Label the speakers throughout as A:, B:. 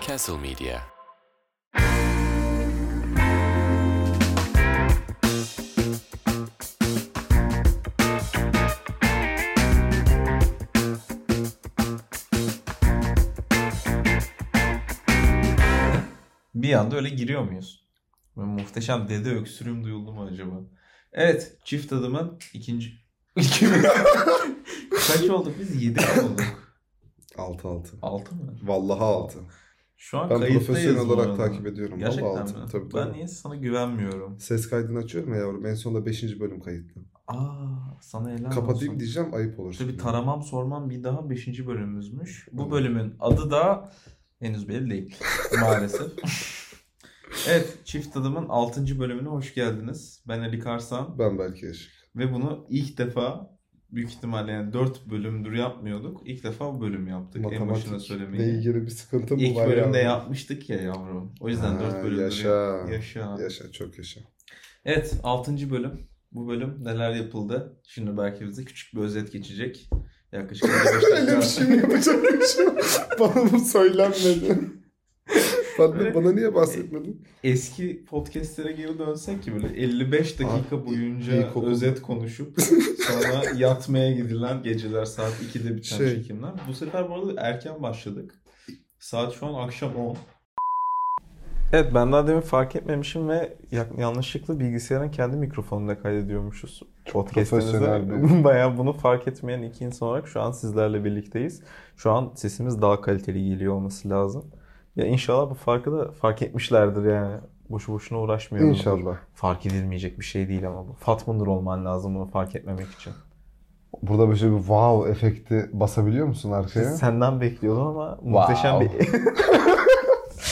A: Castle Media.
B: Bir anda öyle giriyor muyuz? Böyle muhteşem dede öksürüğüm duyuldu mu acaba? Evet. Çift adımın ikinci... İkimiz. Kaç olduk biz? Yedi mi olduk.
C: 6-6.
B: Altı mı?
C: Vallahi 6.
B: Şu an
C: Ben
B: kayıttayız
C: profesyonel
B: bu
C: olarak
B: arada.
C: takip ediyorum.
B: Gerçekten
C: Vallahi
B: mi?
C: 6. Tabii
B: ben
C: tabii.
B: niye sana güvenmiyorum?
C: Ses kaydını açıyorum ya yavrum. En sonunda 5. bölüm kayıtlı.
B: Aa sana helal
C: Kapatayım
B: olsun.
C: diyeceğim ayıp olur.
B: İşte bir taramam sormam bir daha 5. bölümümüzmüş. Bu
C: Tamam.
B: bölümün adı da henüz belli değil maalesef. evet Çift Adım'ın 6. bölümüne hoş geldiniz. Ben Ali Karsan.
C: Ben belki yaşık.
B: Ve bunu ilk defa büyük ihtimalle yani 4 bölümdür yapmıyorduk. İlk defa bu bölüm yaptık. en başına söylemeyi.
C: Matematikle ilgili bir sıkıntı mı
B: İlk
C: var
B: bölümde
C: ya?
B: yapmıştık ya yavrum. O yüzden
C: Ha,
B: 4 bölümdür
C: yaşa.
B: yap- Yaşa.
C: Yaşa çok yaşa.
B: Evet 6. bölüm. Bu bölüm neler yapıldı? Şimdi belki bize küçük bir özet geçecek. Yaklaşık 55
C: Öyle bir
B: dakika.
C: şey mi yapacak bir şey yok. Bana bu söylenmedi.
B: Böyle-
C: bana, bana niye bahsetmedin?
B: Eski podcastlere geri dönsek ki böyle 55 dakika
C: Abi,
B: boyunca
C: ilkokul-
B: özet konuşup sonra yatmaya gidilen geceler saat 2'de biten
C: Şey.
B: çekimler. Bu sefer bu arada erken başladık. Saat şu an akşam 10. Evet ben daha demin fark etmemişim ve ya- yanlışlıkla bilgisayarın kendi mikrofonunda kaydediyormuşuz. Podcast'imizi.
C: profesyonel
B: Bayağı bunu fark etmeyen iki insan olarak şu an sizlerle birlikteyiz. Şu an sesimiz daha kaliteli geliyor olması lazım. Ya inşallah bu farkı da fark etmişlerdir yani. Boşu boşuna uğraşmıyorum.
C: Ee, İnşallah.
B: Fark edilmeyecek bir şey değil ama bu. Fatmındır olman lazım bunu fark etmemek için.
C: Burada böyle bir wow efekti basabiliyor musun arkaya?
B: Senden bekliyordum ama muhteşem bir...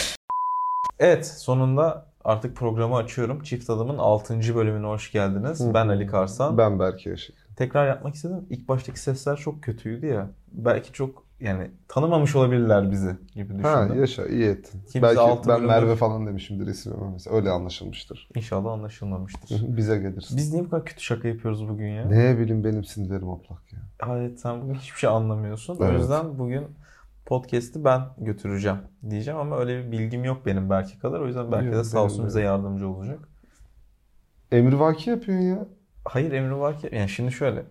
B: evet sonunda artık programı açıyorum. Çift Adam'ın 6. bölümüne hoş geldiniz.
C: Hı.
B: Ben Ali Karsan.
C: Ben belki yaşık.
B: Tekrar yapmak istedim. İlk baştaki sesler çok kötüydü ya. Belki çok yani tanımamış olabilirler bizi gibi düşündüm.
C: Ha yaşa iyi ettin.
B: Kimse altı
C: belki ben
B: bölümdür.
C: Merve falan demişimdir ismime mesela. Öyle anlaşılmıştır.
B: İnşallah anlaşılmamıştır.
C: Bize gelirsin.
B: Biz niye bu kadar kötü şaka yapıyoruz bugün ya?
C: Ne bileyim benim sinirlerim oplak ya.
B: Evet sen bugün hiçbir şey anlamıyorsun. O
C: Evet.
B: yüzden bugün podcast'i ben götüreceğim diyeceğim ama öyle bir bilgim yok benim belki kadar. O yüzden belki de
C: Biliyorum,
B: sağ olsun
C: benim de.
B: bize yardımcı olacak.
C: Emrivaki yapıyorsun ya.
B: Hayır Emre var ki yani şimdi şöyle.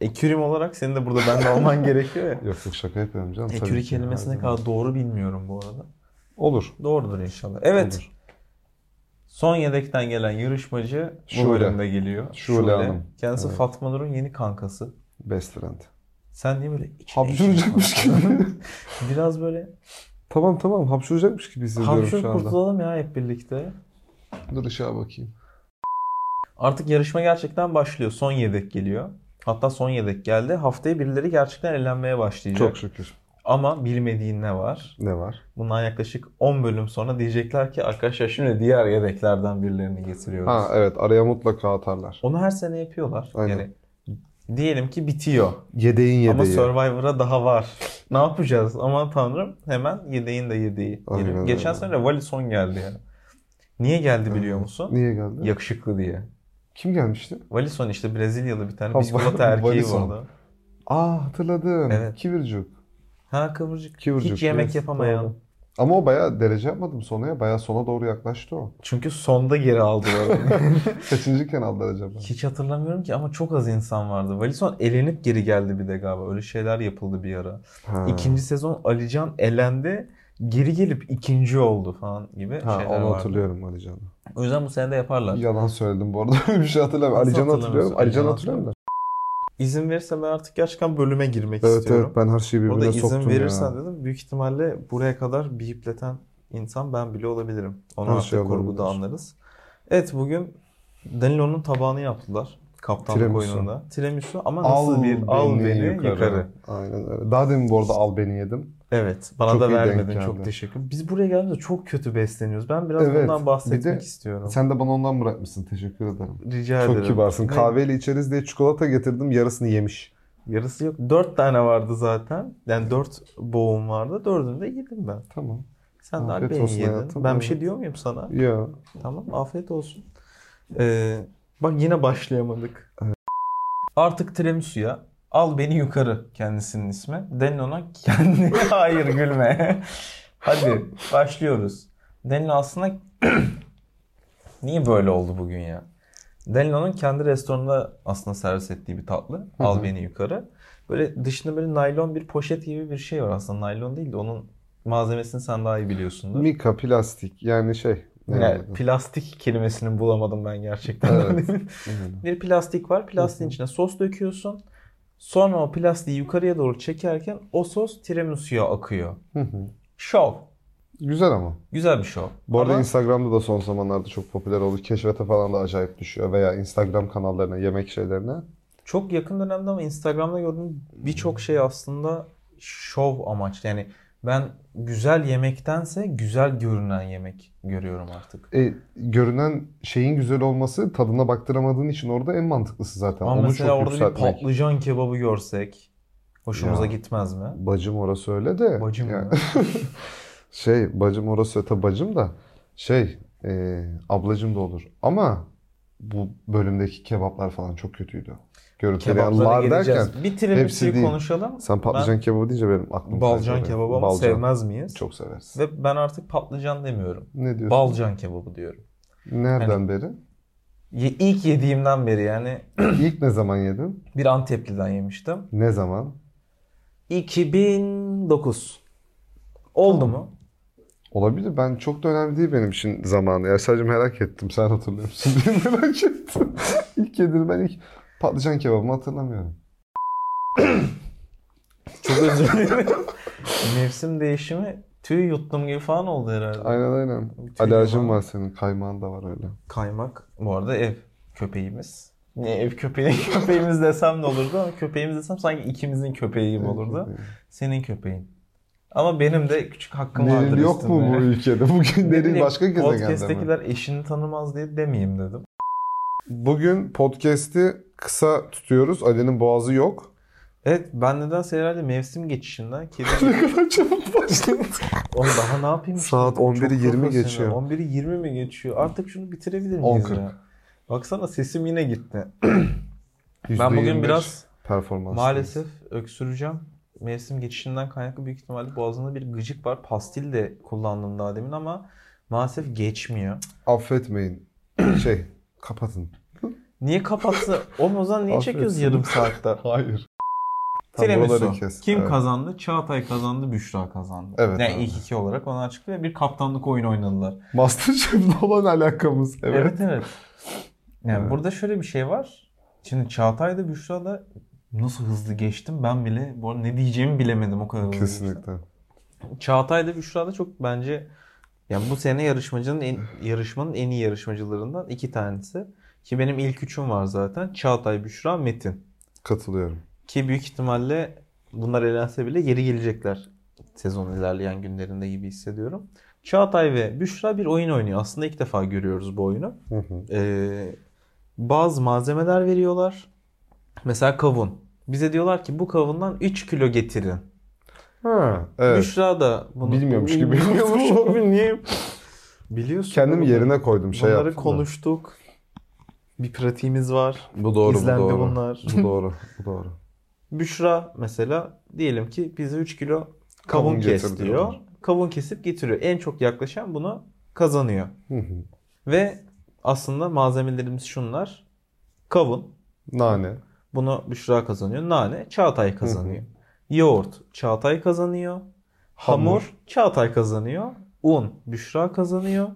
B: Ekürim olarak senin de burada ben de olman gerekiyor ya.
C: Yok yok şaka yapıyorum canım. tabii
B: Eküri
C: ki.
B: kelimesi ne
C: Her
B: kadar
C: zaman.
B: doğru bilmiyorum bu arada.
C: Olur.
B: Doğrudur inşallah. Evet.
C: Olur.
B: Son yedekten gelen yarışmacı bu
C: Şule.
B: bölümde geliyor.
C: Şule Hanım.
B: Kendisi
C: Evet.
B: Fatma Nur'un yeni kankası.
C: Best friend.
B: Şey, Sen niye böyle içine
C: Hapşuracakmış
B: içine konuşuyorsun?
C: gibi.
B: Biraz böyle
C: tamam tamam hapşuracakmış gibi hissediyorum
B: Hapşur
C: şu anda.
B: kurtulalım ya hep birlikte.
C: Dur ışığa bakayım.
B: Artık yarışma gerçekten başlıyor. Son yedek geliyor. Hatta son yedek geldi. Haftaya birileri gerçekten eğlenmeye başlayacak.
C: Çok şükür.
B: Ama bilmediğin ne var?
C: Ne var?
B: Bundan yaklaşık 10 bölüm sonra diyecekler ki arkadaşlar şimdi diğer yedeklerden birilerini getiriyoruz.
C: Ha evet araya mutlaka atarlar.
B: Onu her sene yapıyorlar.
C: Aynen.
B: Yani diyelim ki bitiyor.
C: Yedeğin yedeği.
B: Ama Survivor'a daha var. Ne yapacağız? Aman tanrım hemen yedeğin de yedeği.
C: Aynen
B: geliyor. Geçen
C: öyle.
B: sene Vali son geldi yani. Niye geldi biliyor
C: Aynen.
B: musun?
C: Niye geldi?
B: Yakışıklı diye.
C: Kim gelmişti?
B: Valison işte Brezilyalı bir tane
C: Ha,
B: bisikolata
C: Va-
B: erkeği
C: Valison.
B: vardı.
C: Aa Ah, hatırladım.
B: Evet.
C: Kibircuk.
B: Ha kıvırcık.
C: Kıvırcık,
B: Hiç yemek
C: yes,
B: yapamayan.
C: doğru. Ama o bayağı derece yapmadım sonraya. Bayağı sona doğru yaklaştı o.
B: Çünkü sonda geri aldılar. onu.
C: Kaçıncı kenaldı acaba?
B: Hiç hatırlamıyorum ki ama çok az insan vardı. Valison elenip geri geldi bir de galiba. Öyle şeyler yapıldı bir ara.
C: Ha.
B: İkinci sezon Alican elendi. Geri gelip ikinci oldu falan gibi
C: ha,
B: şeyler
C: onu
B: vardı.
C: hatırlıyorum Ali Can'ı.
B: O yüzden bu sene de yaparlar.
C: Yalan söyledim bu arada. Öyle bir şey hatırlamıyorum.
B: Nasıl
C: Ali Can'ı
B: hatırlamıyorsun?
C: hatırlıyorum. Ali
B: Ali
C: Can'ı
B: Can'ı
C: hatırlıyorum da.
B: İzin verirse ben artık gerçekten bölüme girmek
C: Evet
B: istiyorum.
C: evet ben her şeyi
B: Burada
C: birbirine
B: izin
C: soktum
B: verirsen
C: ya.
B: dedim. Büyük ihtimalle buraya kadar bipleten insan ben bile olabilirim. Onu
C: Her
B: artık
C: şey
B: kurguda
C: olabilir.
B: anlarız. Evet bugün Danilo'nun tabağını yaptılar. Kaptanlık
C: Tiramisu.
B: oyununda. Tiramisu ama nasıl
C: Al
B: bir
C: beni,
B: al beni yukarı.
C: yukarı. Aynen öyle. Daha demin bu arada al beni yedim.
B: Evet. Bana
C: Çok
B: da
C: iyi denk
B: vermedin.
C: geldi.
B: Çok teşekkür. Biz buraya geldiğimizde çok kötü besleniyoruz. Ben biraz
C: Evet,
B: bundan
C: bir
B: bahsetmek
C: de
B: istiyorum.
C: Sen de bana ondan bırakmışsın. Teşekkür ederim.
B: Rica
C: Çok
B: ederim.
C: kibarsın.
B: Ne-
C: Kahveyle içeriz diye çikolata getirdim. Yarısını yemiş.
B: Yarısı yok. Dört tane vardı zaten. Yani dört boğum vardı. Dördünü de yedim ben.
C: Tamam.
B: Sen de
C: Afiyet
B: al beni
C: olsun
B: yedin.
C: hayatım,
B: Ben bir
C: evet.
B: şey diyor muyum sana?
C: Ya.
B: Tamam afiyet olsun. Ee, bak yine başlayamadık. Artık tiramisu'ya Al beni yukarı kendisinin ismi. Denin ona kendi... Hayır gülme. Hadi başlıyoruz. Denin aslında... Niye böyle oldu bugün ya? Delino'nun kendi restoranında aslında servis ettiği bir tatlı.
C: hı.
B: Al beni yukarı. Böyle dışında böyle naylon bir poşet gibi bir şey var aslında. Naylon değil de onun malzemesini sen daha iyi biliyorsundur.
C: Mika plastik yani şey.
B: Yani plastik kelimesini bulamadım ben gerçekten.
C: Evet. Yani.
B: bir plastik var. Plastiğin içine sos döküyorsun. Sonra o plastiği yukarıya doğru çekerken o sos tiramisu'ya akıyor.
C: Hı hı.
B: Şov.
C: Güzel ama.
B: Güzel bir şov.
C: Bu arada
B: Ama
C: Instagram'da da son zamanlarda çok popüler oldu. Keşfete falan da acayip düşüyor. Veya Instagram kanallarına, yemek şeylerine.
B: çok yakın dönemde ama Instagram'da gördüğüm birçok şey aslında şov amaçlı. Yani ben güzel yemektense güzel görünen yemek görüyorum artık.
C: E, görünen şeyin güzel olması tadına baktıramadığın için orada en mantıklısı zaten.
B: Ama
C: Onu
B: mesela
C: çok
B: orada bir
C: yükseltmek.
B: patlıcan kebabı görsek hoşumuza
C: Ya.
B: gitmez mi?
C: Bacım orası öyle de.
B: Bacım
C: Yani-
B: mı?
C: Şey bacım orası öte bacım da şey e, ablacım da olur. Ama bu bölümdeki kebaplar falan çok kötüydü. Görüntüleri yani
B: Kebaplara
C: lar
B: geleceğiz.
C: derken
B: bir
C: hepsi
B: tiramisu'yu
C: değil.
B: konuşalım.
C: sen patlıcan kebabı deyince benim
B: Ben
C: aklım
B: balcan
C: kaydı oraya.
B: kebabı ama
C: Balcan.
B: sevmez miyiz?
C: Çok seversin.
B: Ve ben artık patlıcan demiyorum.
C: Ne diyorsun?
B: Balcan kebabı diyorum.
C: Nereden
B: Hani-
C: beri?
B: Ye- İlk yediğimden beri yani
C: İlk ne zaman yedin?
B: bir Antepli'den yemiştim.
C: Ne zaman?
B: 2009. Oldu mu?
C: Olabilir. Ben çok da önemli değil benim için zamanı. Ya sadece merak ettim. Sen hatırlıyor musun diye merak ettim. İlk yediğim ben ilk patlıcan kebabımı hatırlamıyorum.
B: Çok özür dilerim. Mevsim değişimi tüy yuttum gibi falan oldu herhalde.
C: Aynen aynen.
B: Bütün
C: Alerjin
B: yalan.
C: var senin. Kaymağın da var öyle.
B: Kaymak. Bu arada ev köpeğimiz. Ne ev köpeği köpeğimiz desem de olurdu ama köpeğimiz desem sanki ikimizin köpeği gibi olurdu. Senin köpeğin. Ama benim de küçük hakkım vardır
C: Neril yok mu
B: üstünde.
C: bu ülkede? Bugün
B: Ne
C: Neril
B: bileyim,
C: başka gezegende mi?
B: Podcast'tekiler eşini tanımaz diye demeyeyim dedim.
C: Bugün podcast'i kısa tutuyoruz. Ali'nin boğazı yok.
B: Evet ben nedense herhalde mevsim geçişinden kedi
C: ne kadar çabuk başladı.
B: Oğlum daha ne yapayım?
C: Saat
B: Çok
C: 11'i 20
B: profesyonel.
C: geçiyor.
B: 11'i 20 mi geçiyor? Artık şunu bitirebilir miyiz
C: 10.40.
B: ya? Baksana sesim yine gitti. Ben bugün biraz
C: performans.
B: maalesef öksüreceğim. Mevsim geçişinden kaynaklı büyük ihtimalle boğazımda bir gıcık var. Pastil de kullandım daha demin ama maalesef geçmiyor.
C: affetmeyin. Şey, kapatın.
B: Niye kapattı? Oğlum o zaman niye çekiyoruz
C: Affetsin.
B: yarım saatte?
C: Hayır. Tam
B: Tiramisu.
C: buraları kes.
B: Kim
C: Evet.
B: kazandı? Çağatay kazandı, Büşra kazandı.
C: Evet
B: yani
C: abi.
B: ilk iki olarak ona çıktı ve bir kaptanlık oyunu oynadılar.
C: Masterchef'le olan alakamız. Evet.
B: Evet evet. Yani
C: Evet.
B: burada şöyle bir şey var. Şimdi Çağatay'da Büşra'da nasıl hızlı geçtim ben bile bu arada ne diyeceğimi bilemedim o kadar hızlı geçtim.
C: Kesinlikle.
B: Çağatay'da Büşra'da çok bence yani bu sene yarışmacının en, yarışmanın en iyi yarışmacılarından iki tanesi. Ki benim ilk üçüm var zaten. Çağatay, Büşra, Metin.
C: Katılıyorum.
B: Ki büyük ihtimalle bunlar elense bile geri gelecekler sezon ilerleyen günlerinde gibi hissediyorum. Çağatay ve Büşra bir oyun oynuyor. Aslında ilk defa görüyoruz bu oyunu.
C: Hı hı.
B: Ee, bazı malzemeler veriyorlar. Mesela kavun. Bize diyorlar ki bu kavundan 3 kilo getirin.
C: Ha, evet.
B: Büşra da bunu
C: Bilmiyormuş gibi.
B: Bilmiyormuş gibi niye? Biliyorsun.
C: Kendimi
B: oğlum.
C: yerine koydum. Şey
B: Bunları
C: yaptım da.
B: konuştuk. Bir pratiğimiz var.
C: Bu doğru, bu
B: İzlendi
C: doğru.
B: bunlar.
C: Bu doğru, bu doğru.
B: Büşra mesela diyelim ki bize 3 kilo kavun,
C: Kavun
B: kes
C: getir
B: diyor.
C: diyorlar.
B: Kavun kesip getiriyor. En çok yaklaşan bunu kazanıyor.
C: Hı hı.
B: Ve aslında malzemelerimiz şunlar. Kavun,
C: Nane.
B: Bunu Büşra kazanıyor. Nane Çağatay kazanıyor. Yoğurt Çağatay kazanıyor. Hamur,
C: Hamur.
B: Çağatay kazanıyor. Un Büşra kazanıyor.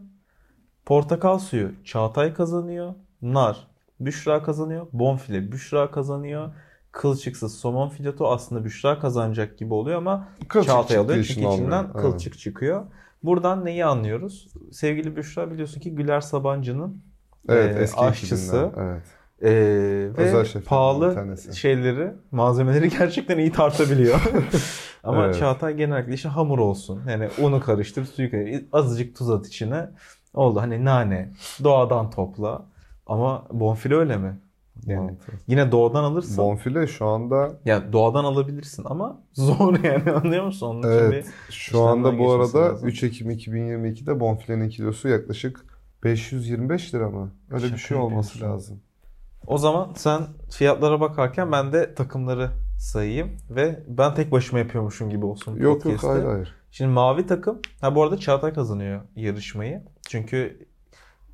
B: Portakal suyu Çağatay kazanıyor. Nar Büşra kazanıyor. Bonfile Büşra kazanıyor. Kılçıksız somon fileto aslında Büşra kazanacak gibi oluyor ama
C: Kılçık
B: Çağatay
C: çıktığı
B: alıyor
C: için
B: çünkü içinden
C: olmuyor. Evet.
B: kılçık çıkıyor. Buradan neyi anlıyoruz? Sevgili Büşra biliyorsun ki Güler Sabancı'nın
C: Evet,
B: e,
C: eski
B: aşçısı.
C: ekibinden. Evet.
B: ee, ve
C: Özel şeflerden bir
B: pahalı
C: tanesi.
B: şeyleri, malzemeleri gerçekten iyi tartabiliyor. Ama
C: Evet.
B: Çağatay genellikle işte hamur olsun. Yani unu karıştır, suyu karıştır. Azıcık tuz at içine. Oldu. Hani nane doğadan topla. Ama bonfile öyle mi? Yani
C: Mantı.
B: yine doğadan alırsın.
C: Bonfile şu anda
B: yani doğadan alabilirsin ama zor yani anlıyor musun? Onun için
C: evet
B: bir-
C: şu
B: işlemden
C: anda bu
B: geçmesi
C: arada
B: lazım.
C: 3 Ekim 2022'de bonfilenin kilosu yaklaşık 525 lira mı? Öyle bir
B: Şaka
C: şey olması
B: yapıyorsun.
C: lazım.
B: O zaman sen fiyatlara bakarken ben de takımları sayayım ve ben tek başıma yapıyormuşum gibi olsun.
C: Yok yok
B: podcast'te.
C: hayır hayır.
B: Şimdi mavi takım, ha bu arada Çağatay kazanıyor yarışmayı. Çünkü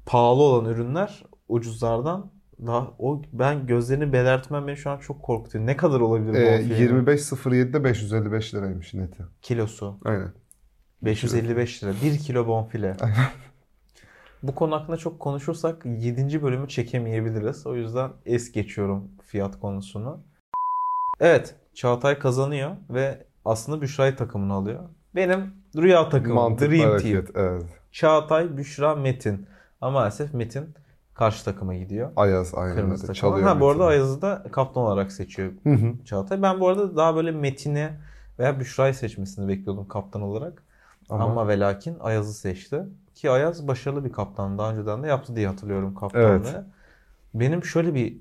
B: pahalı olan ürünler ucuzlardan daha o ben gözlerini belertmem beni şu an çok korkutuyor. Ne kadar olabilir bu
C: Ee,
B: fiyatı?
C: 25.07'de 555 liraymış neti.
B: kilosu?
C: Aynen.
B: 555 lira. 1 kilo bonfile. Bu konu hakkında çok konuşursak 7. bölümü çekemeyebiliriz. O yüzden es geçiyorum fiyat konusunu. Evet, Çağatay kazanıyor ve aslında Büşra'yı takımını alıyor. Benim rüya takımım,
C: Mantıklı
B: Dream Team.
C: hareket. Evet.
B: Çağatay, Büşra, Metin. Ama maalesef Metin karşı takıma gidiyor.
C: Ayaz aynen
B: Kırmızı
C: öyle.
B: takım.
C: Çalıyor.
B: Ha bu arada
C: mesela.
B: Ayaz'ı da kaptan olarak seçiyor
C: Hı hı.
B: Çağatay. Ben bu arada daha böyle Metin'i veya Büşra'yı seçmesini bekliyordum kaptan olarak.
C: Ama,
B: Ama, ve lakin Ayaz'ı seçti. Ki Ayaz başarılı bir kaptan. Daha önceden de yaptı diye hatırlıyorum kaptanlığı.
C: Evet.
B: Benim şöyle bir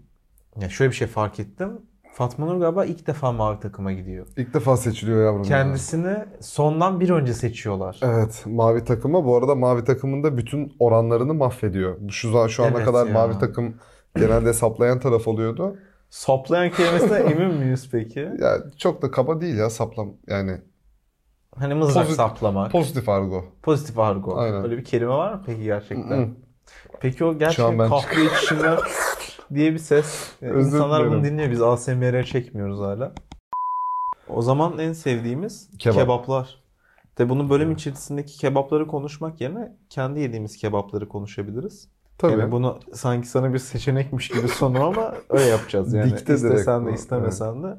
B: ya şöyle bir şey fark ettim. Fatma Nur galiba ilk defa mavi takıma gidiyor.
C: ilk defa seçiliyor yavrum. ya.
B: Kendisini sondan bir önce seçiyorlar.
C: Evet, mavi takıma bu arada mavi takımın da bütün oranlarını mahvediyor. Bu Şu za- şu ana
B: Evet
C: kadar
B: ya.
C: mavi takım genelde hesaplayan taraf oluyordu.
B: Saplayan kelimesine emin miyiz peki?
C: Ya çok da kaba değil ya saplam yani
B: Hani mızrak
C: Pozit-
B: saplamak.
C: pozitif argo.
B: Pozitif argo.
C: Aynen.
B: Öyle bir kelime var mı peki
C: Hı.
B: gerçekten? Peki o
C: Şu an
B: gerçekten
C: ben-
B: kahve içişinden diye bir ses. Yani
C: Özür
B: İnsanlar bunu
C: dilerim.
B: dinliyor. Biz ASMR çekmiyoruz hala. O zaman en sevdiğimiz
C: Kebap.
B: kebaplar. De bunun bölüm içerisindeki kebapları konuşmak yerine kendi yediğimiz kebapları konuşabiliriz.
C: Tabii.
B: Yani bunu sanki sana bir seçenekmiş gibi sonu ama öyle yapacağız yani.
C: Dikte direkt
B: İstesen
C: bu,
B: de
C: evet.
B: istemesen de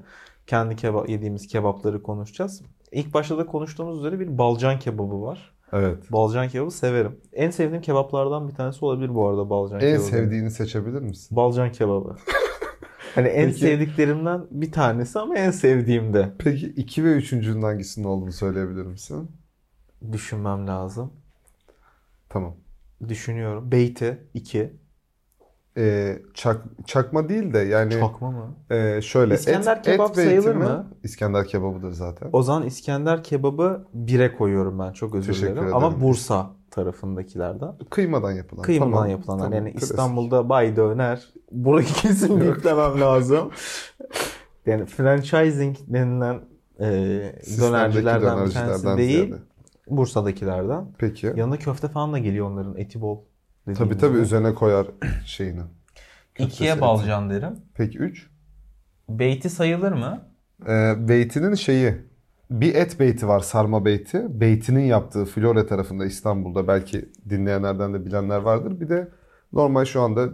B: kendi keba- yediğimiz kebapları konuşacağız. İlk başta da konuştuğumuz üzere bir balcan kebabı var.
C: Evet.
B: Balcan kebabı severim. En sevdiğim kebaplardan bir tanesi olabilir bu arada balcan
C: En
B: kebabı.
C: sevdiğini seçebilir misin?
B: Balcan kebabı. hani en
C: Peki.
B: sevdiklerimden bir tanesi ama en sevdiğim de.
C: Peki 2 ve 3.'ünün hangisinin olduğunu söyleyebilir misin?
B: Düşünmem lazım.
C: Tamam.
B: Düşünüyorum. Beyti 2.
C: Ee, çak- çakma değil de yani
B: Çakma mı?
C: e, şöyle
B: İskender kebap
C: beyti
B: sayılır
C: mi?
B: mı?
C: İskender kebabıdır zaten.
B: O zaman İskender kebabı 1'e koyuyorum ben. Çok özür
C: Teşekkür
B: dilerim.
C: ederim.
B: Ama Bursa tarafındakilerden.
C: Kıymadan yapılan.
B: Kıymadan
C: Tamam,
B: yapılanlar.
C: tamam,
B: yani
C: klasik.
B: İstanbul'da Bay Döner. Burayı kesin biplemem lazım. yani franchising denilen e,
C: Sistemdeki
B: dönercilerden bir tanesi
C: dönercilerden
B: değil.
C: ziyade.
B: Bursa'dakilerden.
C: Peki.
B: Yanına köfte falan da geliyor onların eti bol. dediğimiz
C: Tabii tabii
B: gibi.
C: üzerine koyar şeyini.
D: İkiye balcan derim.
C: Peki 3.
D: Beyti sayılır mı?
C: Ee, beytinin şeyi. Bir et beyti var sarma beyti. Beytinin yaptığı Flore tarafında İstanbul'da belki dinleyenlerden de bilenler vardır. Bir de normal şu anda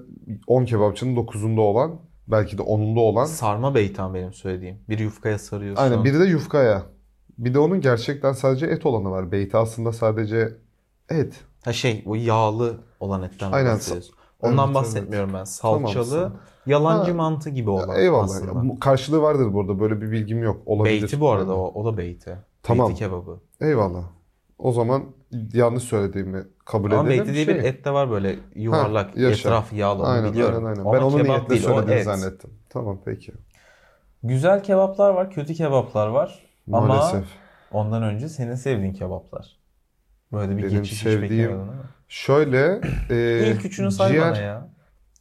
C: 10 kebapçının 9'unda olan belki de 10'unda olan.
B: Sarma beytan benim söylediğim. Bir yufkaya sarıyorsun.
C: Aynen biri de yufkaya. Bir de onun gerçekten sadece et olanı var. Beyti aslında sadece et.
B: Ha şey o yağlı olan etten
C: Aynen,
B: bahsediyorsun. Ondan
C: evet.
B: bahsetmiyorum ben. Salçalı,
C: Tamam.
B: yalancı
C: Ha,
B: mantı gibi olan
C: Eyvallah.
B: aslında.
C: Bu Karşılığı vardır burada. Böyle bir bilgim yok. Olabilir.
B: beyti bu arada o. O da beyti.
C: Tamam.
B: Beyti kebabı.
C: Eyvallah. O zaman yanlış söylediğimi kabul
B: Ama
C: edelim.
B: beyti diye bir
C: Şey-
B: et de var böyle yuvarlak,
C: yaşa.
B: etraf yağlı. onu
C: Aynen,
B: biliyorum.
C: aynen, aynen.
B: Ama
C: Ben onun
B: kebap
C: niyetle
B: değil, o
C: söylediğini
B: et.
C: zannettim. Tamam peki.
D: Güzel kebaplar var, kötü kebaplar var. Ama
C: Maalesef.
D: ondan önce senin sevdiğin kebaplar. Böyle bir
C: Benim
D: geçiş hiç
C: sevdiğim-
D: beklemiyordun ama.
C: Şöyle e,
D: İlk üçünü say
C: ciğer,
D: bana ya.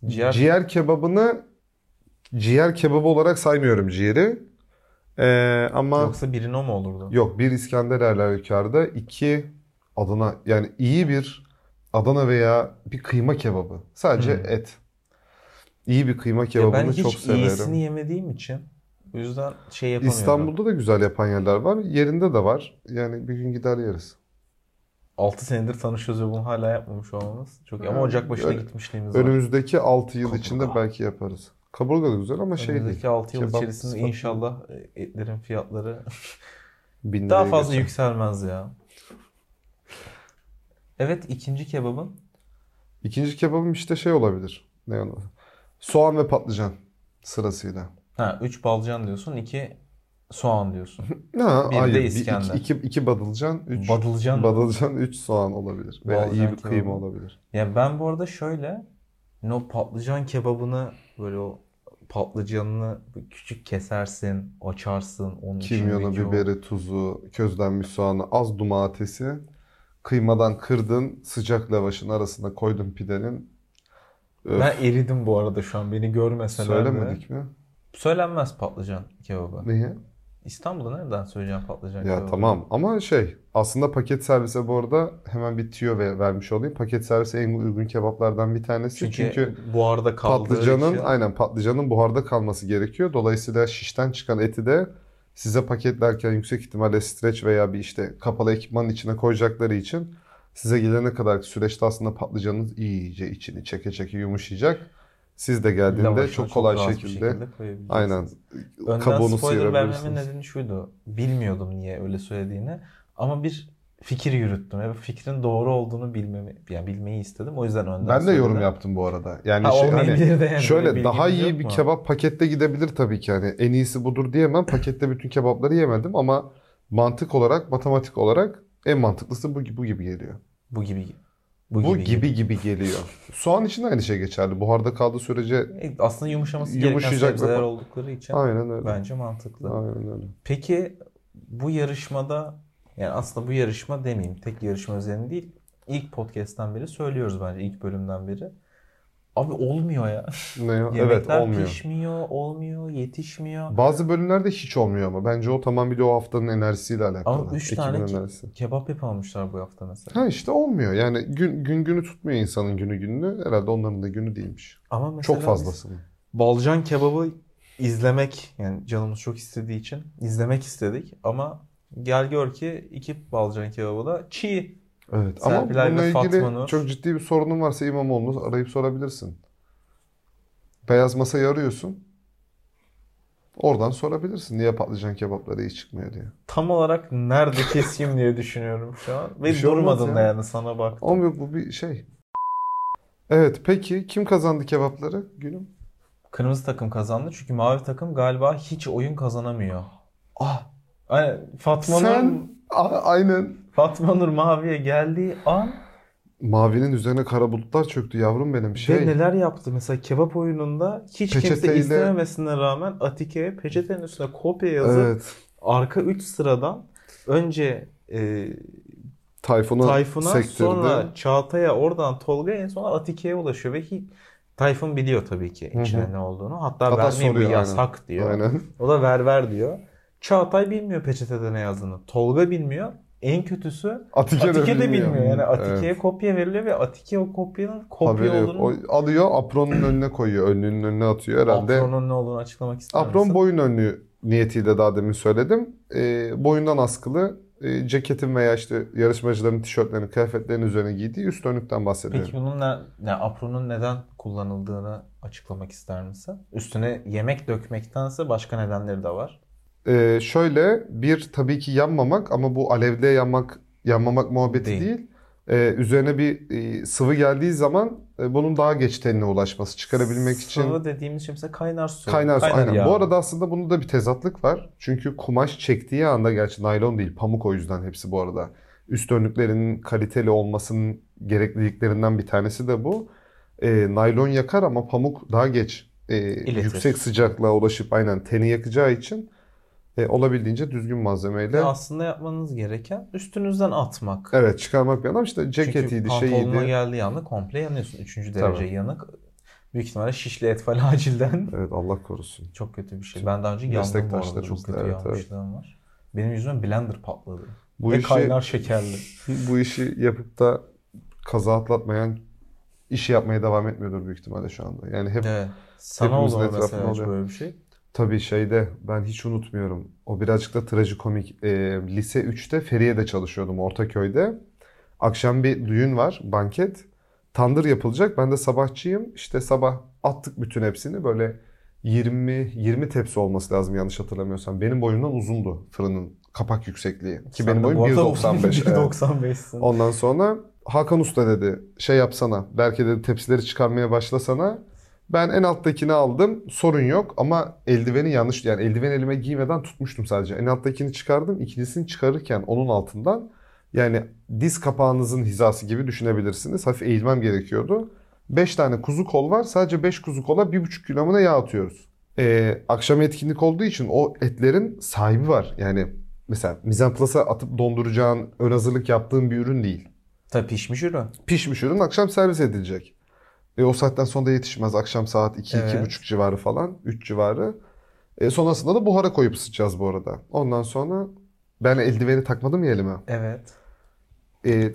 D: Ciğer,
C: ciğer kebabını ciğer kebabı olarak saymıyorum ciğeri. E, ama yok.
D: yoksa birin o mu olurdu?
C: bir İskender Erlerükar'da iki Adana yani iyi bir Adana veya bir kıyma kebabı. Sadece
D: Hmm.
C: et. İyi bir kıyma
D: Ya ben
C: kebabını
D: hiç
C: çok severim.
D: iyisini yemediğim için. O yüzden şey yapamıyorum.
C: İstanbul'da da güzel yapan yerler var. Yerinde de var. Yani bir gün gider yeriz.
D: 6 senedir tanışıyoruz ve bunu hala yapmamış olmamız. Çok iyi. ama
C: Yani
D: Ocak başına
C: öyle-
D: gitmişliğimiz var.
C: Önümüzdeki 6 yıl
D: Kaburga.
C: içinde belki yaparız. Kaburga da güzel ama şey değil.
D: Önümüzdeki 6 yıl
C: Kebap
D: içerisinde
C: sıfatı.
D: inşallah etlerin fiyatları
C: Bin
D: daha
C: liraya
D: fazla
C: geçer.
D: yükselmez ya. Evet ikinci kebabın
C: İkinci kebabım işte şey olabilir. Ne yani? Soğan ve patlıcan sırasıyla.
D: ha 3 balcan diyorsun, 2 soğan diyorsun.
C: Ha,
D: Bir de
C: hayır, bir-
D: İskender.
C: iki, iki, iki badılcan, üç
D: Badılcan. mı?
C: badılcan, üç soğan olabilir. Veya
D: Balcan
C: iyi bir
D: kebabı.
C: kıyma olabilir.
D: Ya ben bu arada şöyle hani o patlıcan kebabını böyle o patlıcanını küçük kesersin, açarsın, onun
C: Kimyonu,
D: içindeki o-
C: biberi, tuzu, közlenmiş soğanı, az domatesi. Kıymadan kırdın, sıcak lavaşın arasına koydun pidenin. Öf,
D: Ben eridim bu arada şu an beni görmeseler de.
C: söylemedik mi?
B: Söylenmez patlıcan kebabı.
C: Niye?
B: İstanbul'da nereden söyleyeceğim patlıcan
C: Ya
B: kebabı?
C: tamam ama şey aslında paket servise bu arada hemen bir tüyo ver- vermiş olayım. Paket servise en uygun kebaplardan bir tanesi.
B: Çünkü,
C: Çünkü
B: buharda kaldığı
C: patlıcanın
B: için.
C: aynen patlıcanın buharda kalması gerekiyor. Dolayısıyla şişten çıkan eti de size paketlerken yüksek ihtimalle streç veya bir işte kapalı ekipmanın içine koyacakları için size gelene kadar süreçte aslında patlıcanın iyice içini çeke çeke yumuşayacak. Siz de geldiğinde
B: Lavaşına
C: çok kolay
B: rahat bir
C: şekilde
B: koyabileceksiniz.
C: aynen
B: Önden
C: kabuğunu
B: spoiler vermemin
C: sıyırabilirsiniz.
B: nedeni şuydu. Bilmiyordum niye öyle söylediğini. Ama bir fikir yürüttüm. Ve bu fikrin doğru olduğunu bilmemi, yani bilmeyi istedim. O yüzden önden
C: Ben de
B: söyledim.
C: yorum yaptım bu arada. Yani
B: Ha,
C: şey, hani-
B: olmayabilir de yani. Böyle
C: Şöyle
B: bilgimiz
C: daha
B: yok
C: iyi bir
B: mu?
C: kebap pakette gidebilir tabii ki. Yani en iyisi budur diyemem. Pakette bütün kebapları yemedim ama mantık olarak, matematik olarak en mantıklısı bu, bu gibi geliyor.
B: Bu gibi.
C: Bu, gibi, gibi geliyor. Soğan için de aynı şey geçerli. Buharda kaldığı sürece
B: E, Aslında yumuşaması gereken
C: Yumuşayacak ve-
B: sebzeler oldukları için
C: aynen öyle.
B: bence mantıklı.
C: Aynen öyle.
B: Peki bu yarışmada yani aslında bu yarışma demeyeyim tek yarışma üzerine değil. İlk podcast'ten beri söylüyoruz bence ilk bölümden beri. Abi olmuyor ya.
C: Ne ya? Evet
B: Yemekler
C: olmuyor.
B: pişmiyor, olmuyor, yetişmiyor.
C: Bazı bölümlerde hiç olmuyor ama. Bence o tamamıyla o haftanın enerjisiyle alakalı.
B: Ama üç
C: Ekibin
B: tane ki-
C: enerjisi.
B: Kebap yapamamışlar bu hafta mesela.
C: Ha işte olmuyor. Yani gün, gün günü tutmuyor insanın günü gününü. Herhalde onların da günü değilmiş.
B: Ama mesela
C: Çok
B: biz
C: fazlası.
B: balcan kebabı izlemek yani canımız çok istediği için izlemek istedik ama gel gör ki iki balcan kebabı da çiğ.
C: Evet ama
B: Serpilay ve
C: bununla ilgili
B: Fatma Nur.
C: çok ciddi bir sorunun varsa İmamoğlu'nu arayıp sorabilirsin. Beyaz masayı arıyorsun. Oradan sorabilirsin niye patlıcan kebapları iyi çıkmıyor diye.
B: Tam olarak nerede keseyim diye düşünüyorum şu an.
C: Bir
B: Ve
C: şey olmaz
B: durmadın da
C: ya.
B: yani sana baktım.
C: Ama yok, bu bir şey. Evet peki kim kazandı kebapları günüm?
B: Kırmızı takım kazandı çünkü mavi takım galiba hiç oyun kazanamıyor. Ah. Aynen Fatma Nur,
C: Sen A- aynen.
B: Fatma Nur maviye geldiği an
C: Mavinin üzerine kara bulutlar çöktü yavrum benim
B: ve
C: şey.
B: neler yaptı mesela kebap oyununda hiç kimse
C: Peçeteyle-
B: istememesine rağmen Atike'ye peçetenin üstüne kopya yazıp
C: Evet.
B: arka 3 sıradan önce e,
C: Tayfun'u
B: Tayfun'a
C: sektirdi.
B: sonra Çağatay'a oradan Tolga'ya en sonra Atike'ye ulaşıyor ve hiç Tayfun biliyor tabii ki
C: Hı hı.
B: içinde ne olduğunu. Hatta,
C: Hatta
B: vermeyin bu
C: soruyor, aynen.
B: yasak diyor.
C: Aynen.
B: O da ver ver diyor. Çağatay bilmiyor peçetede ne yazdığını. Tolga bilmiyor. En kötüsü
C: Atike,
B: Atike, de bilmiyor. Yani
C: Evet.
B: Atike'ye kopya veriliyor ve Atike o kopyanın kopya
C: Haberi yok.
B: olduğunu
C: O alıyor apronun önüne koyuyor. Önlüğünün önüne atıyor herhalde. Apron,
B: Apron'un ne olduğunu açıklamak ister misin?
C: boyun önlüğü niyetiyle daha demin söyledim. Ee, boyundan askılı e, ceketin veya işte yarışmacıların tişörtlerini, kıyafetlerini üzerine giydiği üst önlükten bahsediyorum.
B: Peki bunun ne, ne, apronun neden kullanıldığını açıklamak ister misin? Üstüne yemek dökmektense başka nedenleri de var.
C: Ee, şöyle bir tabii ki yanmamak ama bu alevde yanmak yanmamak muhabbeti
B: Değil.
C: değil. Ee, üzerine bir e, sıvı geldiği zaman e, bunun daha geç tenine ulaşması çıkarabilmek için
B: Sıvı dediğimiz şey mesela kaynar su.
C: Kaynar su aynen.
B: yağ.
C: Bu arada aslında bunda da bir tezatlık var. Çünkü kumaş çektiği anda gerçi naylon değil pamuk o yüzden hepsi bu arada. Üst önlüklerinin kaliteli olmasının gerekliliklerinden bir tanesi de bu. Ee, naylon yakar ama pamuk daha geç e,
B: İletir.
C: yüksek sıcaklığa ulaşıp aynen teni yakacağı için e, olabildiğince düzgün malzemeyle
B: Ve aslında yapmanız gereken üstünüzden atmak.
C: evet çıkarmak bir adam işte
B: Çünkü
C: ceketiydi
B: pantolonuna
C: şeyiydi.
B: geldiği anda komple yanıyorsun. Üçüncü
C: Tabii.
B: derece yanık. Büyük ihtimalle şişli etfal acilden.
C: Evet Allah korusun.
B: çok kötü bir şey. Ben daha önce yandım bu arada. Çok
C: Meslektaşlarımızda,
B: kötü
C: evet,
B: yanmışlığım var. Benim yüzüme blender patladı.
C: Bu
B: Ve
C: işi
B: kaynar şekerli.
C: bu işi yapıp da kaza atlatmayan işi yapmaya devam etmiyordur büyük ihtimalle şu anda. Yani hep
B: Evet. Sana
C: Hepimizin
B: olur
C: etrafında
B: mesela hiç
C: oluyor.
B: böyle bir şey.
C: Tabii şeyde ben hiç unutmuyorum. O birazcık da trajikomik. Ee, lise 3'te Feriye'de çalışıyordum Ortaköy'de. Akşam bir düğün var, banket. Tandır yapılacak. Ben de sabahçıyım. İşte sabah attık bütün hepsini. Böyle 20 20 tepsi olması lazım yanlış hatırlamıyorsam. Benim boyumdan uzundu fırının kapak yüksekliği. Ki
B: Sen
C: benim
B: de
C: boyum
B: bu arada
C: 1.95. evet.
B: 1.95'sin.
C: Ondan sonra Hakan Usta dedi şey yapsana. Berke dedi tepsileri çıkarmaya başlasana. Ben en alttakini aldım. Sorun yok ama eldiveni yanlış yani eldiven elime giymeden tutmuştum sadece. En alttakini çıkardım. ikincisini çıkarırken onun altından yani diz kapağınızın hizası gibi düşünebilirsiniz. Hafif eğilmem gerekiyordu. 5 tane kuzu kol var. Sadece 5 kuzu kola 1,5 kilomuna yağ atıyoruz. Ee, akşam etkinlik olduğu için o etlerin sahibi var. Yani mesela mizan plasa atıp donduracağın, ön hazırlık yaptığın bir ürün değil.
B: Tabii pişmiş ürün.
C: Pişmiş ürün akşam servis edilecek. E, o saatten sonra da yetişmez. Akşam saat 2
B: Evet.
C: buçuk civarı falan, 3 civarı. E, sonrasında da buhara koyup ısıtacağız bu arada. Ondan sonra ben eldiveni takmadım ya elime.
B: Evet.
C: E,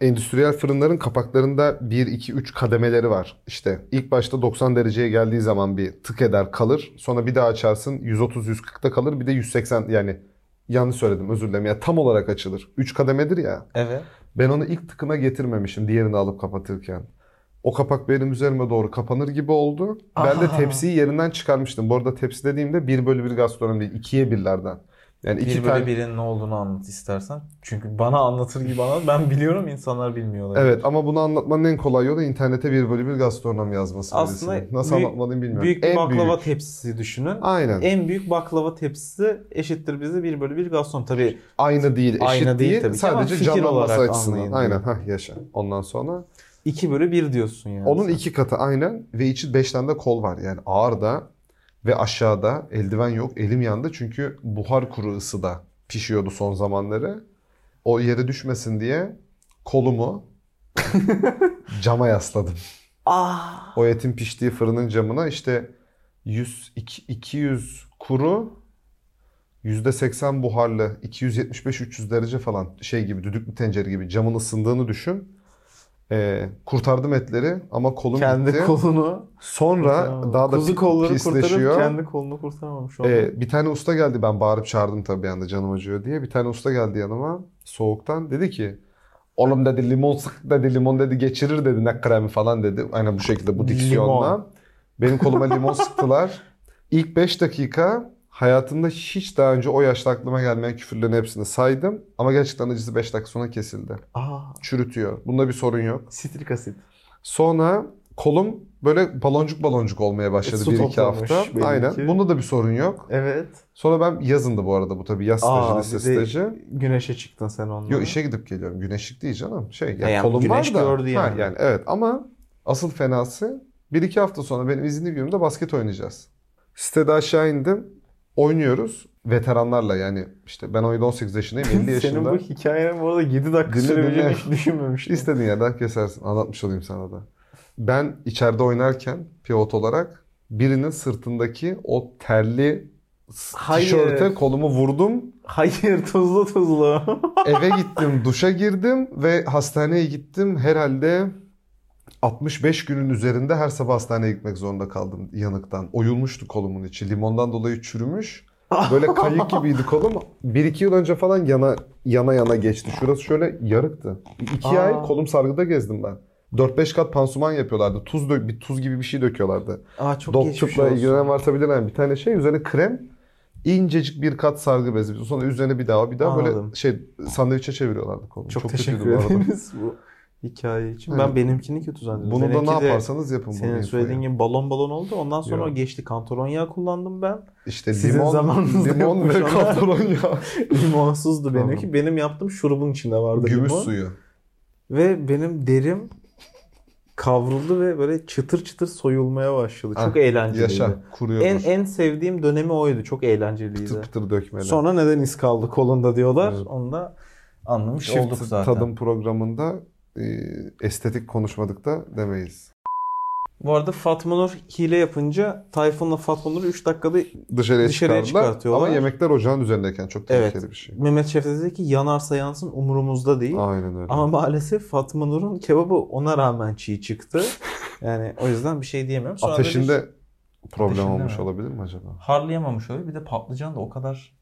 C: endüstriyel fırınların kapaklarında 1, 2, 3 kademeleri var. İşte ilk başta 90 dereceye geldiği zaman bir tık eder kalır. Sonra bir daha açarsın 130-140'da kalır. Bir de 180 yani yanlış söyledim özür dilerim. Ya tam olarak açılır. 3 kademedir ya.
B: Evet.
C: Ben onu ilk tıkına getirmemişim diğerini alıp kapatırken. O kapak benim üzerime doğru kapanır gibi oldu. Ben de
B: Aha.
C: tepsiyi yerinden çıkarmıştım. Bu arada tepsi dediğimde 1 bölü 1 gastronomi değil. 2'ye 1'lerden. Yani iki
B: bir
C: tane...
B: bölü birinin ne olduğunu anlat istersen. Çünkü bana anlatır gibi anlat. Ben biliyorum insanlar bilmiyorlar.
C: Evet ama bunu anlatmanın en kolay yolu internete 1 bölü 1 gastronom yazması.
B: Aslında
C: birisinin. Nasıl
B: büyük-
C: anlatmalıyım bilmiyorum.
B: Büyük bir
C: En
B: baklava
C: büyük.
B: tepsisi düşünün.
C: Aynen.
B: En büyük baklava tepsisi eşittir bize 1 bölü 1 gaston. Tabii
C: Aynı değil, eşit
B: Aynı değil
C: değil.
B: tabii ki ama
C: Sadece
B: fikir
C: canlanması
B: olarak
C: açısından.
B: anlayın
C: Aynen. Hah yaşa. Ondan sonra
B: 2 bölü 1 diyorsun yani.
C: onun
B: sen.
C: iki katı aynen ve içi 5 tane de kol var. Yani ağırda ve aşağıda eldiven yok. Elim yandı çünkü buhar kuru ısıda pişiyordu son zamanları. O yere düşmesin diye kolumu cama yasladım.
B: Ah!
C: O etin piştiği fırının camına işte 100, iki- 200 kuru, %80 buharlı, 275-300 derece falan şey gibi düdüklü tencere gibi camın ısındığını düşün. Ee, kurtardım etleri ama kolum
B: Kendi
C: gitti.
B: kolunu
C: Sonra daha da
B: Kuzu
C: pi-
B: kolları
C: pisleşiyor.
B: kurtarıp kendi kolunu kurtaramamış oldu.
C: Ee, bir tane usta geldi ben bağırıp çağırdım tabii bir anda canım acıyor diye. Bir tane usta geldi yanıma soğuktan dedi ki oğlum dedi limon sık dedi limon dedi geçirir dedi ne kremi falan dedi. Aynen bu şekilde bu diksiyonla.
B: Limon.
C: Benim koluma limon sıktılar. İlk 5 dakika hayatımda hiç daha önce o yaşta aklıma gelmeyen küfürlerin hepsini saydım. Ama gerçekten acısı 5 dakika sonra kesildi.
B: Aa,
C: Çürütüyor. Bunda bir sorun yok.
B: Ah! sitrik asit.
C: Sonra kolum böyle baloncuk baloncuk olmaya başladı
B: E, su
C: 1-2
B: toplamış
C: hafta.
B: belli
C: Aynen.
B: ki.
C: Bunda da bir sorun yok.
B: Evet.
C: Sonra ben yazındı bu arada bu tabii yaz stajı,
B: Aa,
C: lise
B: bir de
C: stajı.
B: güneşe çıktın sen onunla.
C: Yo işe gidip geliyorum. Güneşlik değil canım. Şey yani,
B: Ha, yani
C: kolum
B: güneş
C: var da.
B: gördü
C: Ha,
B: yani.
C: evet ama asıl fenası bir iki hafta sonra benim izinli günümde basket oynayacağız. Sitede aşağı indim. Oynuyoruz. Veteranlarla yani işte ben oyunda 18 yaşındayım 50
B: Senin
C: yaşında.
B: bu hikayenin bu arada 7 dakika
C: Dinle,
B: sürebileceğini
C: dinle.
B: hiç düşünmemiştim.
C: İstediğin yerden kesersin. Anlatmış olayım sana da. Ben içeride oynarken pivot olarak birinin sırtındaki o terli s-
B: Hayır.
C: tişörte kolumu vurdum.
B: Hayır tuzlu tuzlu.
C: Eve gittim, duşa girdim ve hastaneye gittim. Herhalde 65 günün üzerinde her sabah hastaneye gitmek zorunda kaldım yanıktan. Oyulmuştu kolumun içi. Limondan dolayı çürümüş. Böyle kayık gibiydi kolum. 1-2 yıl önce falan yana yana yana geçti. Şurası şöyle yarıktı. 2
B: Aa.
C: ay kolum sargıda gezdim ben. 4-5 kat pansuman yapıyorlardı. Tuz dö- bir tuz gibi bir şey döküyorlardı.
B: Aa çok geçmiş
C: Dokçukla
B: olsun.
C: ilgilenen varsa bilir yani bir tane şey üzerine krem incecik bir kat sargı bezi. Sonra üzerine bir daha bir daha böyle
B: Anladım.
C: şey sandviçe çeviriyorlardı kolumu.
B: Çok,
C: kötüydü
B: teşekkür
C: bu arada.
B: ederiz bu hikaye için.
C: Aynen.
B: Ben benimkini kötü zannediyorum.
C: Bunu da
B: Benimki
C: ne
B: de
C: yaparsanız yapın bunu.
B: Senin söylediğin gibi balon balon oldu. Ondan sonra
C: Yok.
B: o geçti. Kantaron yağı kullandım ben.
C: işte
B: sizin
C: limon,
B: zamanınızda
C: limon ve
B: yokmuş onlar.
C: kapron yağı.
B: Limonsuzdu
C: Tamam.
B: benimki. Benim yaptığım şurubun içinde vardı
C: Gümüş
B: limon.
C: suyu.
B: Ve benim derim kavruldu ve böyle çıtır çıtır soyulmaya başladı. Çok
C: Ah,
B: eğlenceliydi.
C: Yaşa kuruyordur.
B: En en sevdiğim dönemi oydu. Çok eğlenceliydi.
C: pıtır pıtır dökmeli.
B: Sonra neden iz kaldı kolunda diyorlar.
C: Evet.
B: Onu da anlamış
C: Çift
B: şey olduk zaten.
C: tadım programında e, estetik konuşmadık da demeyiz.
B: Bu arada Fatma Nur hile yapınca Tayfun'la Fatma Nur'u 3 dakikada
C: Dışarıya,
B: Dışarıya
C: çıkardılar ama
B: çıkartıyorlar.
C: yemekler ocağın üzerindeyken çok tehlikeli
B: Evet.
C: bir şey.
B: Mehmet Şef de dedi ki yanarsa yansın umurumuzda değil.
C: Aynen öyle.
B: Ama maalesef Fatma Nur'un kebabı ona rağmen çiğ çıktı. Yani o yüzden bir şey diyemiyorum. Sonra
C: Ateşinde
B: böyle
C: problem
D: Ateşinde
C: olmuş
D: mi?
C: olabilir mi acaba?
D: Harlayamamış öyle. Bir de patlıcan da o kadar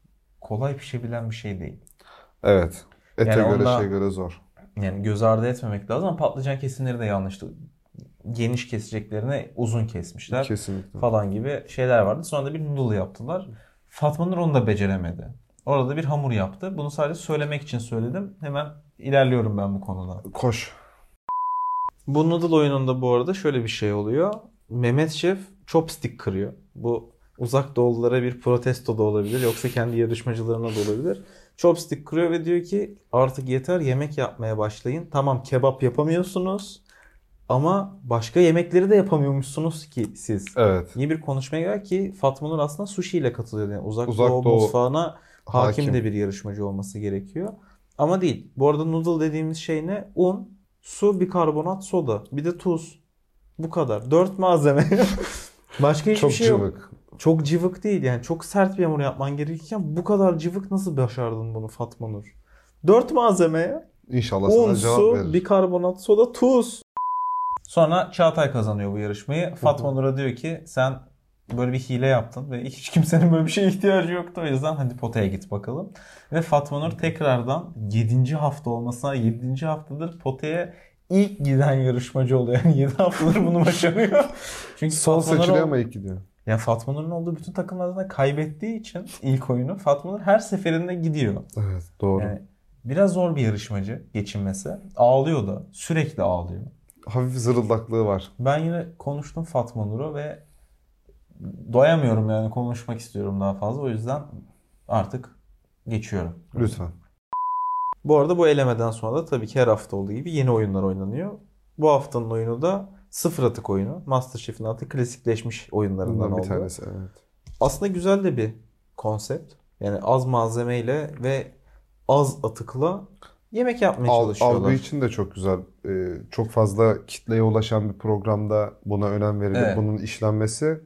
D: kolay pişebilen bir şey değil.
C: Evet. Ete
D: Yani
C: göre
D: onda-
C: şey göre zor.
D: Yani göz ardı etmemek lazım ama patlıcan kesimleri de yanlıştı. Geniş keseceklerine uzun kesmişler
C: Kesinlikle.
D: falan gibi şeyler vardı. Sonra da bir noodle yaptılar. Fatma Nur onu da beceremedi. Orada bir hamur yaptı. Bunu sadece söylemek için söyledim. Hemen ilerliyorum ben bu konuda.
C: Koş.
B: Bu noodle oyununda bu arada şöyle bir şey oluyor. Mehmet Şef chopstick kırıyor. Bu uzak doğululara bir protesto da olabilir. Yoksa kendi yarışmacılarına da olabilir. Chopstick kırıyor ve diyor ki artık yeter yemek yapmaya başlayın. Tamam kebap yapamıyorsunuz. Ama başka yemekleri de yapamıyormuşsunuz ki siz.
C: Evet.
B: Yeni bir konuşmaya göre ki Fatma Nur aslında sushi ile katılıyor. Yani uzak,
C: Uzak
B: doğu,
C: Doğu
B: mutfağına hakim,
C: Hakim.
B: de bir yarışmacı olması gerekiyor. Ama değil. Bu arada noodle dediğimiz şey ne? Un, su, bikarbonat, soda, bir de tuz. Bu kadar. Dört malzeme.
E: Başka hiçbir
C: Çok
E: şey yok.
C: cıvık.
E: Çok cıvık değil yani çok sert bir hamur yapman gerekirken bu kadar cıvık nasıl başardın bunu Fatma Nur? Dört malzemeye
C: İnşallah
E: un,
C: sana cevap
E: su,
C: verir.
E: bikarbonat, soda, tuz.
B: Sonra Çağatay kazanıyor bu yarışmayı. Fatma Nur'a diyor ki sen böyle bir hile yaptın ve hiç kimsenin böyle bir şeye ihtiyacı yoktu. O yüzden hadi potaya git bakalım. Ve Fatma Nur tekrardan 7. hafta olmasına 7. haftadır potaya ilk giden yarışmacı oluyor. Yani 7 haftadır bunu başarıyor. Çünkü
C: Son
B: Fatma Nur
C: seçiliyor
B: o-
C: ama ilk gidiyor.
B: yani Fatma Nur'un olduğu bütün takımlardan da kaybettiği için ilk oyunu Fatma Nur her seferinde gidiyor.
C: Evet doğru.
B: Yani biraz zor bir yarışmacı geçinmesi. Ağlıyor da. Sürekli ağlıyor.
C: Hafif zırıldaklığı var.
B: Ben yine konuştum Fatma Nur'a ve doyamıyorum yani konuşmak istiyorum daha fazla. O yüzden artık geçiyorum.
C: Lütfen.
E: Bu arada bu elemeden sonra da tabii ki her hafta olduğu gibi yeni oyunlar oynanıyor. Bu haftanın oyunu da sıfır atık oyunu. Masterchef'in artık klasikleşmiş oyunlarından
C: Bundan bir
E: oldu.
C: tanesi evet.
E: Aslında güzel de bir konsept. Yani az malzemeyle ve az atıkla yemek yapmaya
C: Al-
E: çalışıyorlar.
C: algı için de çok güzel. Ee, çok fazla kitleye ulaşan bir programda buna önem verilip
B: Evet.
C: bunun işlenmesi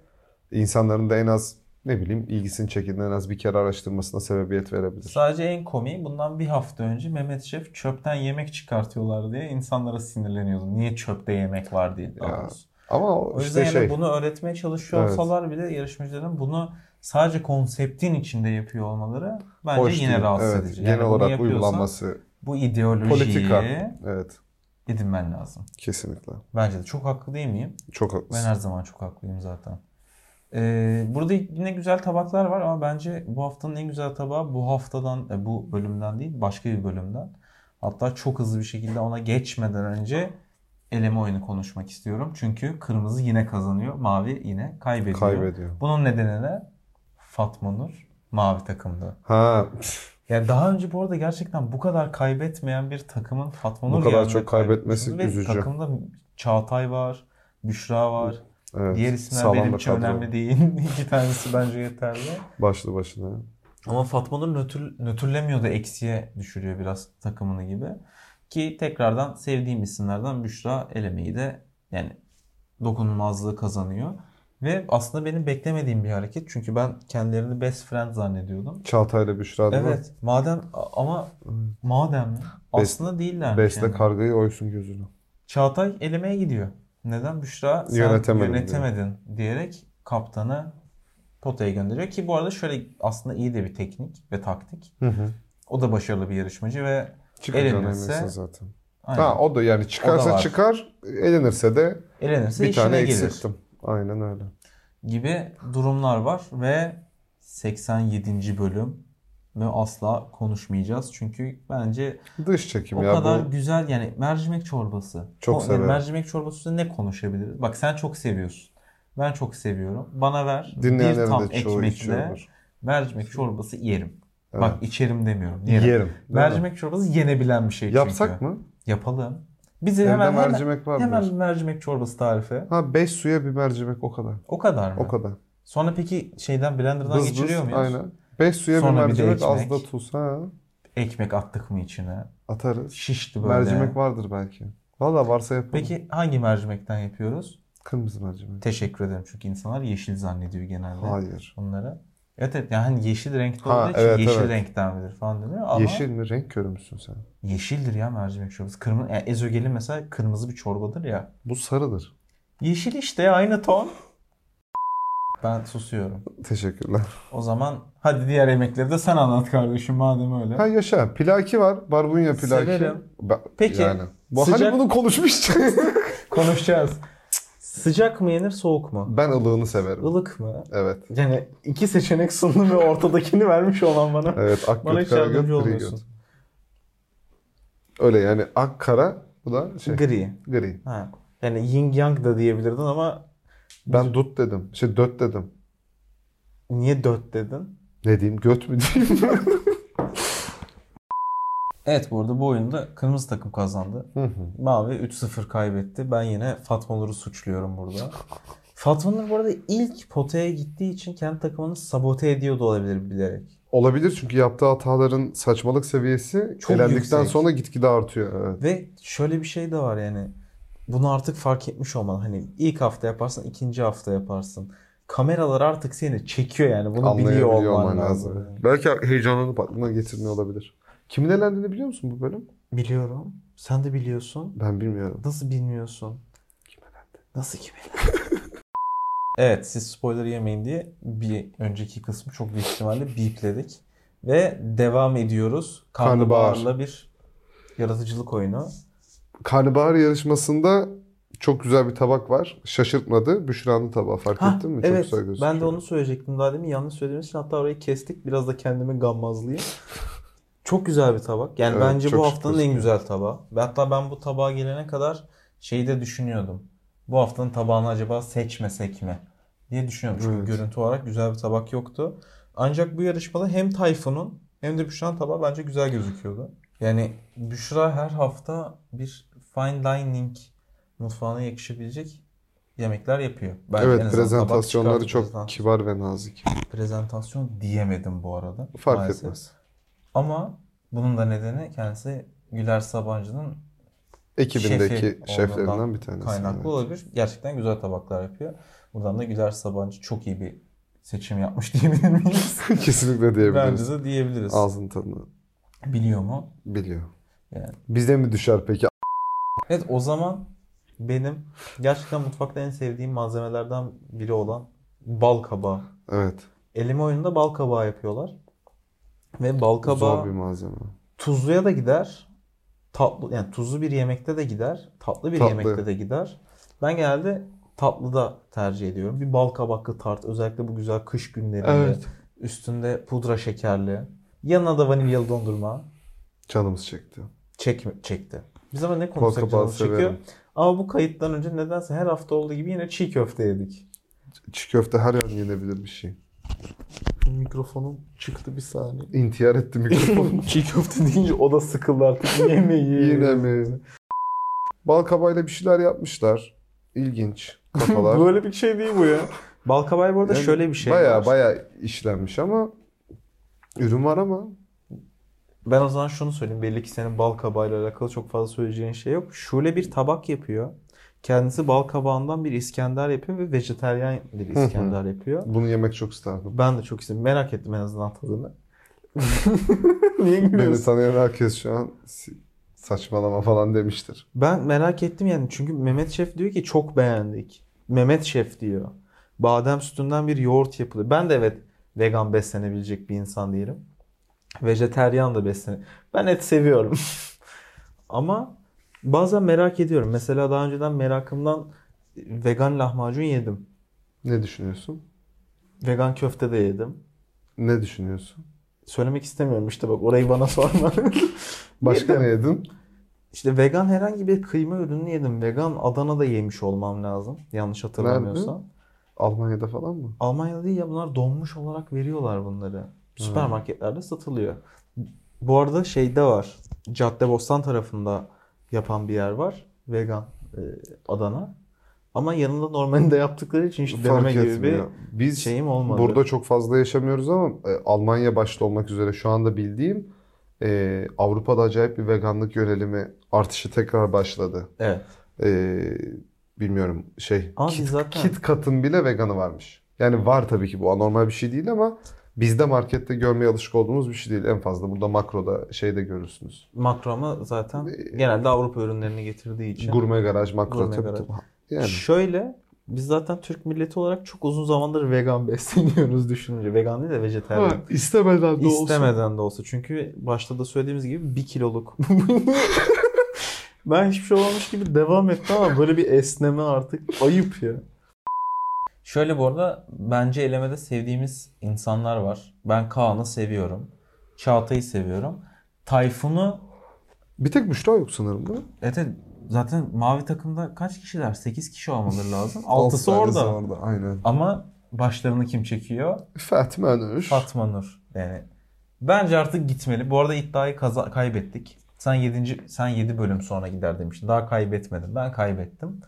C: insanların da en az ne bileyim ilgisini çektiğinde en az bir kere araştırmasına sebebiyet verebilir.
B: Sadece en komiği bundan bir hafta önce Mehmet Şef çöpten yemek çıkartıyorlar diye insanlara sinirleniyordu. Niye çöpte yemek var diye daha
C: Ya,
B: doğrusu.
C: Ama o
B: O yüzden
C: işte
B: yani
C: şey
B: bunu öğretmeye çalışıyor
C: Evet.
B: olsalar bile yarışmacıların bunu sadece konseptin içinde yapıyor olmaları bence
C: hoş
B: yine
C: değil.
B: rahatsız
C: Evet,
B: edici.
C: Genel
B: Yani bunu
C: olarak
B: yapıyorsan
C: uygulanması
B: Bu ideolojiyi
C: politika. Evet
B: edinmen lazım.
C: kesinlikle.
B: Bence de çok haklı değil miyim?
C: Çok
B: Ben
C: haklısın.
B: her zaman çok haklıyım zaten. Ee, burada yine güzel tabaklar var ama bence bu haftanın en güzel tabağı bu haftadan, e, bu bölümden değil başka bir bölümden. Hatta çok hızlı bir şekilde ona geçmeden önce eleme oyunu konuşmak istiyorum. Çünkü kırmızı yine kazanıyor, mavi yine kaybediyor.
C: Kaybediyor.
B: Bunun nedeni ne? Fatma Nur mavi takımda.
C: Ha
B: Yani daha önce bu arada gerçekten bu kadar kaybetmeyen bir takımın Fatma
C: Bu
B: Nur
C: kadar
B: gelmeye
C: çok kaybetmesi
B: kaybetmesi
C: üzücü.
B: Ve takımda Çağatay var, Büşra var.
C: evet.
B: Diğer isimler
C: Sağlam
B: benim
C: bir
B: için
C: kadro.
B: önemli değil. İki tanesi bence yeterli.
C: Başlı başına.
B: Ama Fatma'nın nötr, nötrlemiyor da eksiye düşürüyor biraz takımını gibi. Ki tekrardan sevdiğim isimlerden Büşra elemeyi de yani dokunulmazlığı kazanıyor. Ve aslında benim beklemediğim bir hareket. Çünkü ben kendilerini best friend zannediyordum.
C: Çağatay'la Büşra değil mi?
B: Evet. Madem ama madem mi?
C: Best-
B: aslında değiller.
C: Beste kargayı oysun gözünü.
B: Çağatay elemeye gidiyor. Neden Büşra sen
C: Yönetemedim
B: yönetemedin diyerek kaptanı potaya gönderiyor ki bu arada şöyle aslında iyi de bir teknik ve taktik.
C: Hı hı.
B: O da başarılı bir yarışmacı ve
C: Çıkacağına
B: Elenirse-
C: eminsin zaten.
B: aynen,
C: Ha o da yani çıkarsa
B: O da var.
C: çıkar, elenirse de
B: elenirse
C: bir
B: işine
C: tane
B: gelir
C: eksilttim. Aynen öyle.
B: gibi durumlar var ve 87. bölüm ve asla konuşmayacağız. Çünkü bence
C: Dış çekim
B: o
C: ya
B: kadar
C: bu.
B: güzel yani mercimek çorbası.
C: Çok
B: Ko- yani
C: severim.
B: mercimek çorbası üzerine ne konuşabiliriz? Bak sen çok seviyorsun. Ben çok seviyorum. Bana ver bir tam
C: Dinleyenlerin de çoğu
B: ekmekle
C: içiyordur.
B: mercimek çorbası yerim.
C: Evet.
B: Bak içerim demiyorum. Yerim.
C: Yerim. değil mi?
B: Mercimek çorbası yenebilen bir şey çünkü.
C: Yapsak mı?
B: Yapalım. Bizi
C: Evde
B: hemen hemen,
C: mercimek var
B: hemen bir
C: mı?
B: mercimek çorbası tarifi.
C: Ha 5 suya bir mercimek o kadar.
B: O kadar mı?
C: O kadar.
B: Sonra peki şeyden blenderdan
C: Bız
B: geçiriyor
C: bız.
B: muyuz?
C: Aynen. 5 suya
B: Sonra bir
C: bir
B: de
C: mercimek az
B: ekmek.
C: da tuz ha.
B: Ekmek attık mı içine?
C: Atarız.
B: Şişti böyle.
C: Mercimek vardır belki. Valla varsa yapalım.
B: Peki hangi mercimekten yapıyoruz?
C: Kırmızı mercimek.
B: Teşekkür ederim çünkü insanlar yeşil zannediyor genelde
C: Hayır.
B: onları. Evet evet yani hani yeşil renkte
C: Ha,
B: olduğu için
C: evet,
B: yeşil
C: evet.
B: renkten midir falan deniyor ama
C: Yeşil mi? Renk körü müsün sen?
B: yeşildir ya mercimek çorbası. Kırmızı yani ezogelin mesela kırmızı bir çorbadır ya.
C: Bu sarıdır.
B: Yeşil işte aynı ton. Ben susuyorum.
C: Teşekkürler.
B: O zaman hadi diğer yemekleri de sen anlat kardeşim madem öyle.
C: Ha yaşa. Pilaki var. Barbunya pilaki.
B: Severim.
C: Ba-
E: Peki,
C: Yani. Bu
E: sıcak-
C: hani bunu konuşmuştuk.
E: Konuşacağız. Sıcak mı yenir soğuk mu?
C: ben ılığını severim.
E: Ilık mı?
C: Evet.
E: Yani iki seçenek sundum ve ortadakini vermiş olan bana.
C: Evet. Ak
E: Bana
C: göt,
E: hiç
C: kara göt,
E: yardımcı
C: gri
E: olmuyorsun.
C: göt. Öyle yani ak kara bu da şey
E: Gri.
C: gri.
E: Ha. Yani yin yang da diyebilirdin ama
C: Ben dut dedim. Şey döt dedim.
E: niye dört dedin?
C: Ne diyeyim? Göt mü diyeyim?
B: Evet bu arada bu oyunda kırmızı takım kazandı.
C: Hı hı.
B: Mavi 3-0 kaybetti. Ben yine Fatma Nur'u suçluyorum burada.
E: Fatma Nur bu arada ilk potaya gittiği için kendi takımını sabote ediyor da olabilir bilerek.
C: Olabilir çünkü yaptığı hataların saçmalık seviyesi
E: Çok
C: elendikten
E: yüksek.
C: sonra gitgide artıyor. Evet.
E: Ve şöyle bir şey de var yani.
B: bunu artık fark etmiş olman. Hani ilk hafta yaparsın, ikinci hafta yaparsın. Kameralar artık seni çekiyor yani. Bunu biliyor olman,
C: Anlayabiliyor olman
B: lazım.
C: lazım. Belki heyecanlanıp aklına getirmiyor olabilir. Kimin elendiğini biliyor musun bu bölüm?
B: Biliyorum. Sen de biliyorsun.
C: Ben bilmiyorum.
B: Nasıl bilmiyorsun? Nasıl kime? evet siz spoiler yemeyin diye bir önceki kısmı çok büyük ihtimalle bipledik. Ve devam ediyoruz.
C: Karnabahar.
B: Karnabahar'la bir yaratıcılık oyunu.
C: Karnabahar yarışmasında çok güzel bir tabak var. Şaşırtmadı. Büşra'nın tabağı fark
B: Hah,
C: ettin mi?
B: evet,
C: çok güzel
B: ben de
C: gözüküyor.
B: onu söyleyecektim daha demin. Yanlış söylediğim için hatta orayı kestik. Biraz da kendimi gammazlayayım. çok güzel bir tabak. Yani
C: Evet,
B: bence
C: çok
B: bu
C: şık
B: haftanın en güzel tabağı. Ve hatta ben bu tabağa gelene kadar şeyi de düşünüyordum. Bu haftanın tabağını acaba seçmesek mi? diye düşünüyordum. Çünkü
C: Evet.
B: görüntü olarak güzel bir tabak yoktu. Ancak bu yarışmada hem Tayfun'un hem de Büşra'nın tabağı bence güzel gözüküyordu. Yani Büşra her hafta bir fine dining mutfağına yakışabilecek yemekler yapıyor. Bence en
C: Evet
B: azından tabak
C: prezentasyonları
B: çıkardı.
C: çok
B: Prezentasyon-
C: kibar ve nazik.
B: Prezentasyon diyemedim bu arada.
C: Fark
B: maalesef.
C: etmez.
B: Ama bunun da nedeni kendisi Güler Sabancı'nın
C: Ekibindeki
B: şefi
C: şeflerinden
B: olduğundan
C: bir tanesi.
B: kaynaklı
C: evet.
B: olabilir. Gerçekten güzel tabaklar yapıyor. Buradan da Güler Sabancı çok iyi bir seçim yapmış diyebilir miyiz?
C: Kesinlikle diyebiliriz.
B: Bence de diyebiliriz.
C: Ağzın tadını
B: Biliyor mu?
C: biliyor.
B: Yani.
C: Bize mi düşer peki?
B: Evet o zaman benim gerçekten mutfakta en sevdiğim malzemelerden biri olan bal kabağı.
C: Evet.
B: Elime oyununda bal kabağı yapıyorlar. Ve bal kabağı
C: Zor bir malzeme.
B: tuzluya da gider. Tatlı yani tuzlu bir yemekte de gider. Tatlı bir
C: Tatlı.
B: yemekte de gider. Ben genelde tatlıda tercih ediyorum. Bir bal kabaklı tart özellikle bu güzel kış günlerinde.
C: Evet.
B: Üstünde pudra şekerli. Yanına da vanilyalı dondurma.
C: Canımız çekti.
B: Çekme, çekti. Biz ama ne
C: Bal
B: konuşsak
C: kabağı
B: canımız çekiyor.
C: severim.
B: Ama bu kayıttan önce nedense her hafta olduğu gibi yine çiğ köfte yedik.
C: Çiğ köfte her yerden yenebilir bir şey.
B: Mikrofonum çıktı bir saniye.
C: İntihar etti mikrofon.
B: çiğ köfte deyince o da sıkıldı artık. Yemeği.
C: Yine mi? Bal kabağıyla bir şeyler yapmışlar. İlginç kafalar.
B: Böyle bir şey değil bu ya. Balkabay bu arada
C: Yani
B: şöyle bir şey
C: Baya
B: var.
C: baya işlenmiş ama ürün var ama
B: Ben o zaman şunu söyleyeyim. Belli ki senin bal kabağıyla alakalı çok fazla söyleyeceğin şey yok. Şule bir tabak yapıyor. Kendisi bal kabağından bir İskender yapıyor ve vejetaryen bir
C: hı.
B: İskender yapıyor.
C: bunu yemek çok isterdim.
B: Ben de çok istedim. Merak ettim en azından tadını. Niye
C: Beni
B: gülüyorsun?
C: tanıyan herkes şu an si- saçmalama falan demiştir.
B: Ben merak ettim yani. Çünkü Mehmet Şef diyor ki çok beğendik. Mehmet Şef diyor. Badem sütünden bir yoğurt yapılıyor. Ben de evet vegan beslenebilecek bir insan değilim. Vejeteryan da beslene. Ben et seviyorum. Ama bazen merak ediyorum. Mesela daha önceden merakımdan vegan lahmacun yedim.
C: Ne düşünüyorsun?
B: Vegan köfte de yedim.
C: Ne düşünüyorsun?
B: Söylemek istemiyorum işte bak orayı bana sorma.
C: Başka ne yedin?
B: İşte vegan herhangi bir kıyma ürünü yedim. Vegan Adana'da yemiş olmam lazım. Yanlış hatırlamıyorsam.
C: Almanya'da falan mı?
B: Almanya'da değil ya bunlar donmuş olarak veriyorlar bunları. Süpermarketlerde satılıyor. Bu arada şeyde var. Caddebostan tarafında yapan bir yer var. Vegan e, Adana. Ama yanında normalinde yaptıkları için hiç deneme
C: Fark
B: gibi bir şey
C: etmiyor. Biz
B: şeyim olmadı.
C: burada çok fazla yaşamıyoruz ama e, Almanya başta olmak üzere şu anda bildiğim e, Avrupa'da acayip bir veganlık yönelimi artışı tekrar başladı.
B: evet.
C: E, bilmiyorum şey
B: Ama
C: Kit
B: biz zaten
C: Kit Kat'ın bile veganı varmış. Yani var tabii ki bu anormal bir şey değil ama bizde markette görmeye alışık olduğumuz bir şey değil. En fazla burada makroda şeyde görürsünüz.
B: makrama zaten
C: Ee,
B: genelde Avrupa ürünlerini getirdiği için.
C: Gurme garaj makro
B: Gurme
C: tabii
B: garaj.
C: tabii. Yani
B: Şöyle biz zaten Türk milleti olarak çok uzun zamandır vegan besleniyoruz düşününce. Vegan değil de vejetaryen.
C: istemeden
B: İstemeden de olsa. Çünkü başta da söylediğimiz gibi bir kiloluk. ben hiçbir şey olmamış gibi devam ettim ama böyle bir esneme artık ayıp ya. Şöyle bu arada bence elemede sevdiğimiz insanlar var. Ben Kaan'ı seviyorum. Çağatay'ı seviyorum. Tayfun'u
C: Bir tek Büşra yok sanırım değil mi?
B: evet, evet, zaten mavi takımda kaç kişiler? 8 kişi olmaları lazım. Altısı
C: Altısı
B: orada.
C: orada. Aynen.
B: Ama başlarını kim çekiyor?
C: Fatma Önür.
B: Fatma Nur. Yani bence artık gitmeli. Bu arada iddiayı kaza- kaybettik. Sen 7. sen 7 bölüm sonra gider demiştin. Daha kaybetmedim. Ben kaybettim.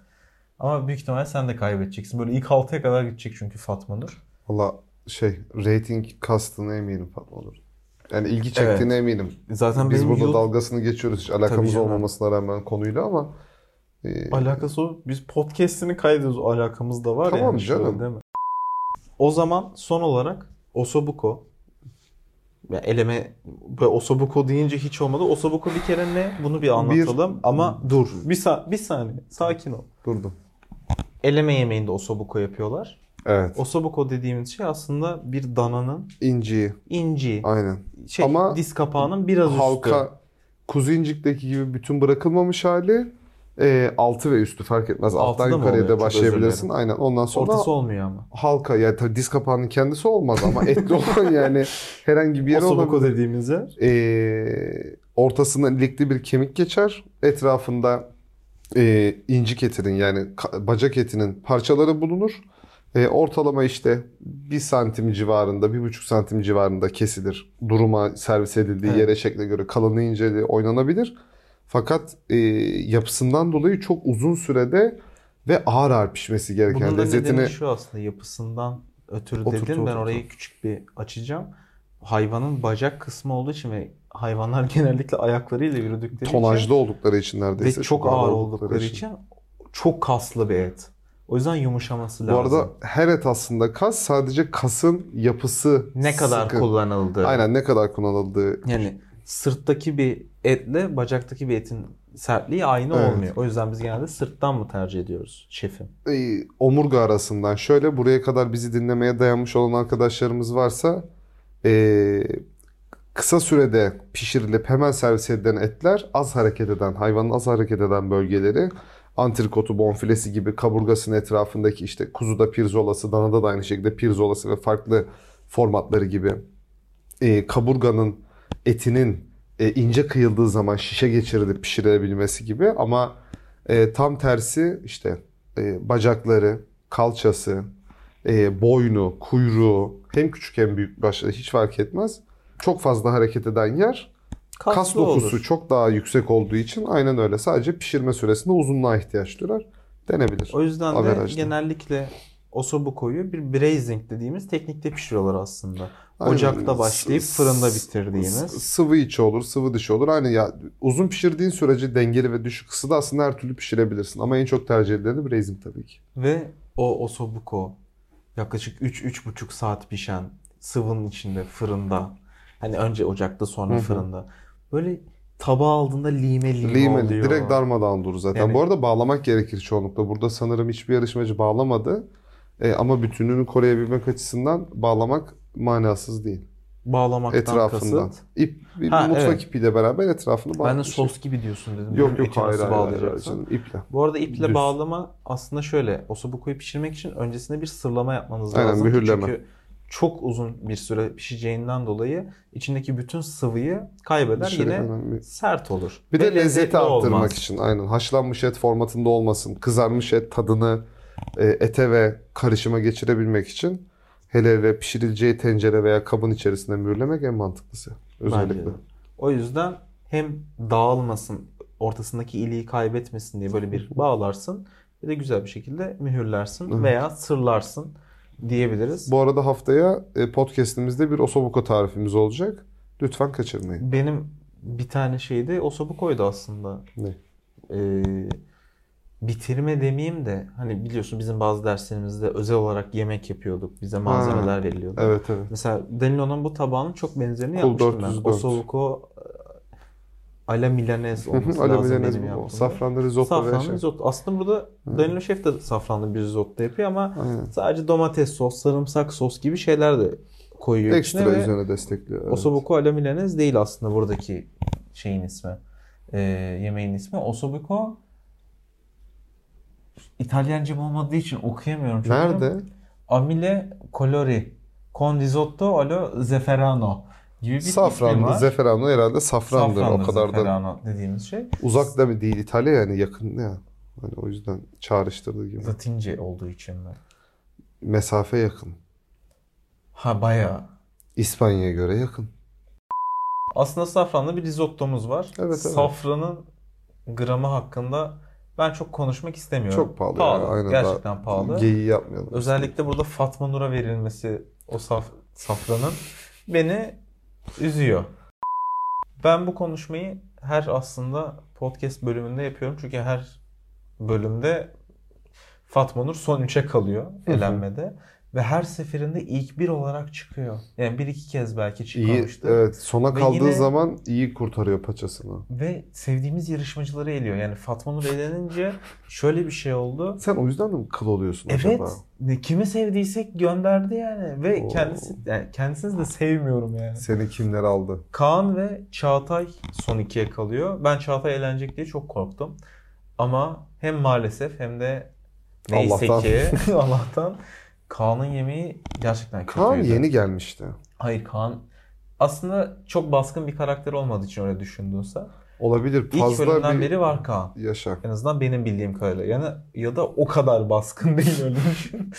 B: Ama büyük ihtimalle sen de kaybedeceksin. Böyle ilk 6'ya kadar gidecek çünkü Fatma Nur.
C: Valla şey rating kastına eminim Fatma Önür. Yani ilgi çektiğine eminim.
B: Zaten
C: Biz
B: benim
C: burada
B: yıl-
C: dalgasını geçiyoruz. Hiç
B: Tabii
C: alakamız
B: canım.
C: olmamasına rağmen konuyla ama Ee,
B: Alakası o. Biz podcast'ini kaydediyoruz. Alakamız da var
C: Tamam
B: yani.
C: canım.
B: şöyle Değil mi? O zaman son olarak Osobuko. Ya eleme ve Osobuko deyince hiç olmadı. Osobuko bir kere ne? Bunu bir anlatalım. Ama dur. Bir, sa- bir saniye. Sakin ol.
C: Durdum.
B: Eleme yemeğinde Osobuko yapıyorlar.
C: Evet.
B: Osobuko dediğimiz şey aslında bir dananın
C: İnciyi.
B: inci,
C: Aynen.
B: şey,
C: Ama
B: diz kapağının biraz üstü.
C: Halka kuzu incikteki gibi bütün bırakılmamış hali e, altı ve üstü fark etmez.
B: Altıda
C: Alttan
B: mı
C: yukarıya
B: oluyor?
C: da
B: Çok özür
C: başlayabilirsin.
B: dilerim.
C: Aynen. Ondan sonra
B: Ortası olmuyor ama.
C: halka yani tabii diz kapağının kendisi olmaz ama etli olan yani herhangi bir yere
B: Osobuko
C: olabilir.
B: dediğimiz yer.
C: Ee, ortasından ilikli bir kemik geçer. Etrafında e, incik etinin yani ka- bacak etinin parçaları bulunur. E, ortalama işte bir santim civarında, bir buçuk santim civarında kesilir. Duruma servis edildiği
B: Evet.
C: yere şekle göre kalınlığı inceliği oynanabilir. Fakat e, yapısından dolayı çok uzun sürede ve ağır ağır pişmesi gereken
B: Bunun da
C: lezzetini...
B: nedeni şu aslında yapısından ötürü
C: Oturtu,
B: dedim. Ben
C: oturtu.
B: orayı küçük bir açacağım. Hayvanın bacak kısmı olduğu için ve hayvanlar genellikle ayaklarıyla yürüdükleri için
C: Tonajlı oldukları için
B: ve
C: neredeyse.
B: çok, ağır oldukları için. çok kaslı bir et. O yüzden yumuşaması
C: Bu
B: lazım.
C: arada her et aslında kas sadece kasın yapısı
B: ne kadar
C: sıkı.
B: kullanıldı.
C: Aynen ne kadar kullanıldığı.
B: Yani sırttaki bir etle bacaktaki bir etin sertliği aynı
C: Evet.
B: olmuyor. O yüzden biz genelde sırttan mı tercih ediyoruz şefim?
C: Ee, omurga arasından şöyle buraya kadar bizi dinlemeye dayanmış olan arkadaşlarımız varsa ee, kısa sürede pişirilip hemen servis edilen etler az hareket eden hayvanın az hareket eden bölgeleri antrikotu, bonfilesi gibi kaburgasının etrafındaki işte kuzuda pirzolası, danada da aynı şekilde pirzolası ve farklı formatları gibi e, kaburganın etinin e, ince kıyıldığı zaman şişe geçirilip pişirilebilmesi gibi ama e, tam tersi işte e, bacakları, kalçası, e, boynu, kuyruğu hem küçük hem büyük başta hiç fark etmez. Çok fazla hareket eden yer
B: Kaslı
C: kas dokusu
B: olur.
C: çok daha yüksek olduğu için aynen öyle sadece pişirme süresinde uzunluğa ihtiyaç duyar. Denebilir.
B: O yüzden de
C: Averajda.
B: genellikle osobukoyu bir braising dediğimiz teknikte pişiriyorlar aslında.
C: Aynen.
B: Ocakta başlayıp
C: S-
B: fırında
C: s- s-
B: bitirdiğimiz.
C: Sıvı içi olur, sıvı dışı olur. Aynı ya uzun pişirdiğin sürece dengeli ve düşük ısıda aslında her türlü pişirebilirsin. Ama en çok tercih edileni braising tabii ki.
B: Ve o osobuko yaklaşık 3-3,5 saat pişen sıvının içinde fırında. Hani önce ocakta sonra
C: Hı hı.
B: fırında. Böyle tabağa aldığında lime lime,
C: Lime
B: oluyor.
C: direkt darmadağın durur zaten.
B: Yani-
C: Bu arada bağlamak gerekir çoğunlukla. Burada sanırım hiçbir yarışmacı bağlamadı. E, ama bütününü koruyabilmek açısından bağlamak manasız değil.
B: Bağlamaktan
C: Etrafından.
B: kasıt.
C: İp, bir
B: Ha,
C: mutfak
B: evet.
C: ipiyle beraber etrafını
B: Ben de
C: bağlamış.
B: sos gibi diyorsun dedim.
C: Yok
B: Etin
C: yok
B: arası
C: hayır hayır, hayır, hayır
B: bağlayacaksın.
C: canım iple.
B: Bu arada iple
C: Düz.
B: bağlama aslında şöyle. Osobukoyu pişirmek için öncesinde bir sırlama yapmanız
C: Aynen,
B: lazım.
C: mühürleme.
B: Çünkü çok uzun bir süre pişeceğinden dolayı içindeki bütün sıvıyı kaybeder.
C: Dışarı
B: Yine
C: önemli.
B: sert olur.
C: Bir
B: Ve
C: de lezzeti
B: lezzetli
C: arttırmak
B: olmaz.
C: için aynen haşlanmış et formatında olmasın. Kızarmış et tadını e, ete ve karışıma geçirebilmek için hele hele pişirileceği tencere veya kabın içerisinde mühürlemek en mantıklısı.
B: Bence
C: Özellikle.
B: de. O yüzden hem dağılmasın, ortasındaki iliği kaybetmesin diye böyle bir bağlarsın. Bir de güzel bir şekilde mühürlersin
C: Evet.
B: veya sırlarsın diyebiliriz.
C: Bu arada haftaya e, podcastimizde bir osobuko tarifimiz olacak. Lütfen kaçırmayın.
B: Benim bir tane şeyde Osobuko'ydu aslında.
C: Ne?
B: Ee, bitirme demeyeyim de hani biliyorsun bizim bazı derslerimizde özel olarak yemek yapıyorduk. Bize malzemeler veriliyordu.
C: Evet evet.
B: Mesela Danilo'nun bu tabağının çok benzerini
C: Kul
B: yapmıştım ben.
C: 404.
B: Osobuko e, ala milanez olması
C: Alo
B: lazım
C: Milanez
B: benim
C: bu.
B: yaptığımda.
C: Safranlı risotto ve
B: Safranlı
C: şey.
B: risotto. Aslında burada Danilo Şef de safranlı bir risotto yapıyor ama
C: Aynen.
B: sadece domates sos, sarımsak sos gibi şeyler de koyuyor içine
C: Ekstra
B: ve
C: üzerine destekliyor. evet.
B: Osobuco alla milanese değil aslında buradaki şeyin ismi. Ee, yemeğin ismi. Osobuco İtalyancam olmadığı için okuyamıyorum. çok
C: Nerede?
B: iyi. Amile colori. Con risotto allo zeferano gibi bir ismi
C: Safranlı,
B: var.
C: zeferanlı herhalde safrandır.
B: Safranlı
C: o kadar da
B: zeferano dediğimiz şey.
C: Uzak da mı değil İtalya yani yakın ya. Hani o yüzden çağrıştırdığı gibi.
B: Latince olduğu için mi?
C: Mesafe yakın.
B: Ha bayağı.
C: İspanya'ya göre yakın.
B: Aslında safranlı bir risottomuz var.
C: Evet, evet.
B: Safranın gramı hakkında ben çok konuşmak istemiyorum.
C: Çok pahalı.
B: Pahalı.
C: ya, aynen
B: Gerçekten
C: daha
B: pahalı.
C: Geyiği yapmayalım.
B: Özellikle burada Fatma Nur'a verilmesi o saf, safranın beni üzüyor. Ben bu konuşmayı her aslında podcast bölümünde yapıyorum. Çünkü her bölümde Fatma Nur son üçe kalıyor
C: hı.
B: elenmede. Ve her seferinde ilk bir olarak çıkıyor. Yani bir iki kez belki
C: İyi,
B: çıkmamıştı.
C: evet, sona
B: Ve
C: kaldığı
B: yine-
C: zaman iyi kurtarıyor paçasını.
B: Ve sevdiğimiz yarışmacıları eliyor. Yani Fatma Nur elenince şöyle bir şey oldu.
C: Sen o yüzden de mi kıl oluyorsun
B: Evet.
C: acaba?
B: Ne kimi sevdiysek gönderdi yani ve
C: Oo.
B: kendisi yani kendisini de sevmiyorum yani.
C: Seni kimler aldı?
B: Kaan ve Çağatay son ikiye kalıyor. Ben Çağatay eğlenecek diye çok korktum. Ama hem maalesef hem de neyse ki Allah'tan Kaan'ın yemeği gerçekten kötüydü.
C: Kaan yeni gelmişti.
B: Hayır Kaan aslında çok baskın bir karakter olmadığı için öyle düşündüğünse.
C: Olabilir.
B: İlk
C: Fazla
B: bölümden
C: bir...
B: beri var Kaan.
C: Yaşa.
B: En azından benim bildiğim kadarıyla. Yani ya da o kadar baskın değil öyle düşün.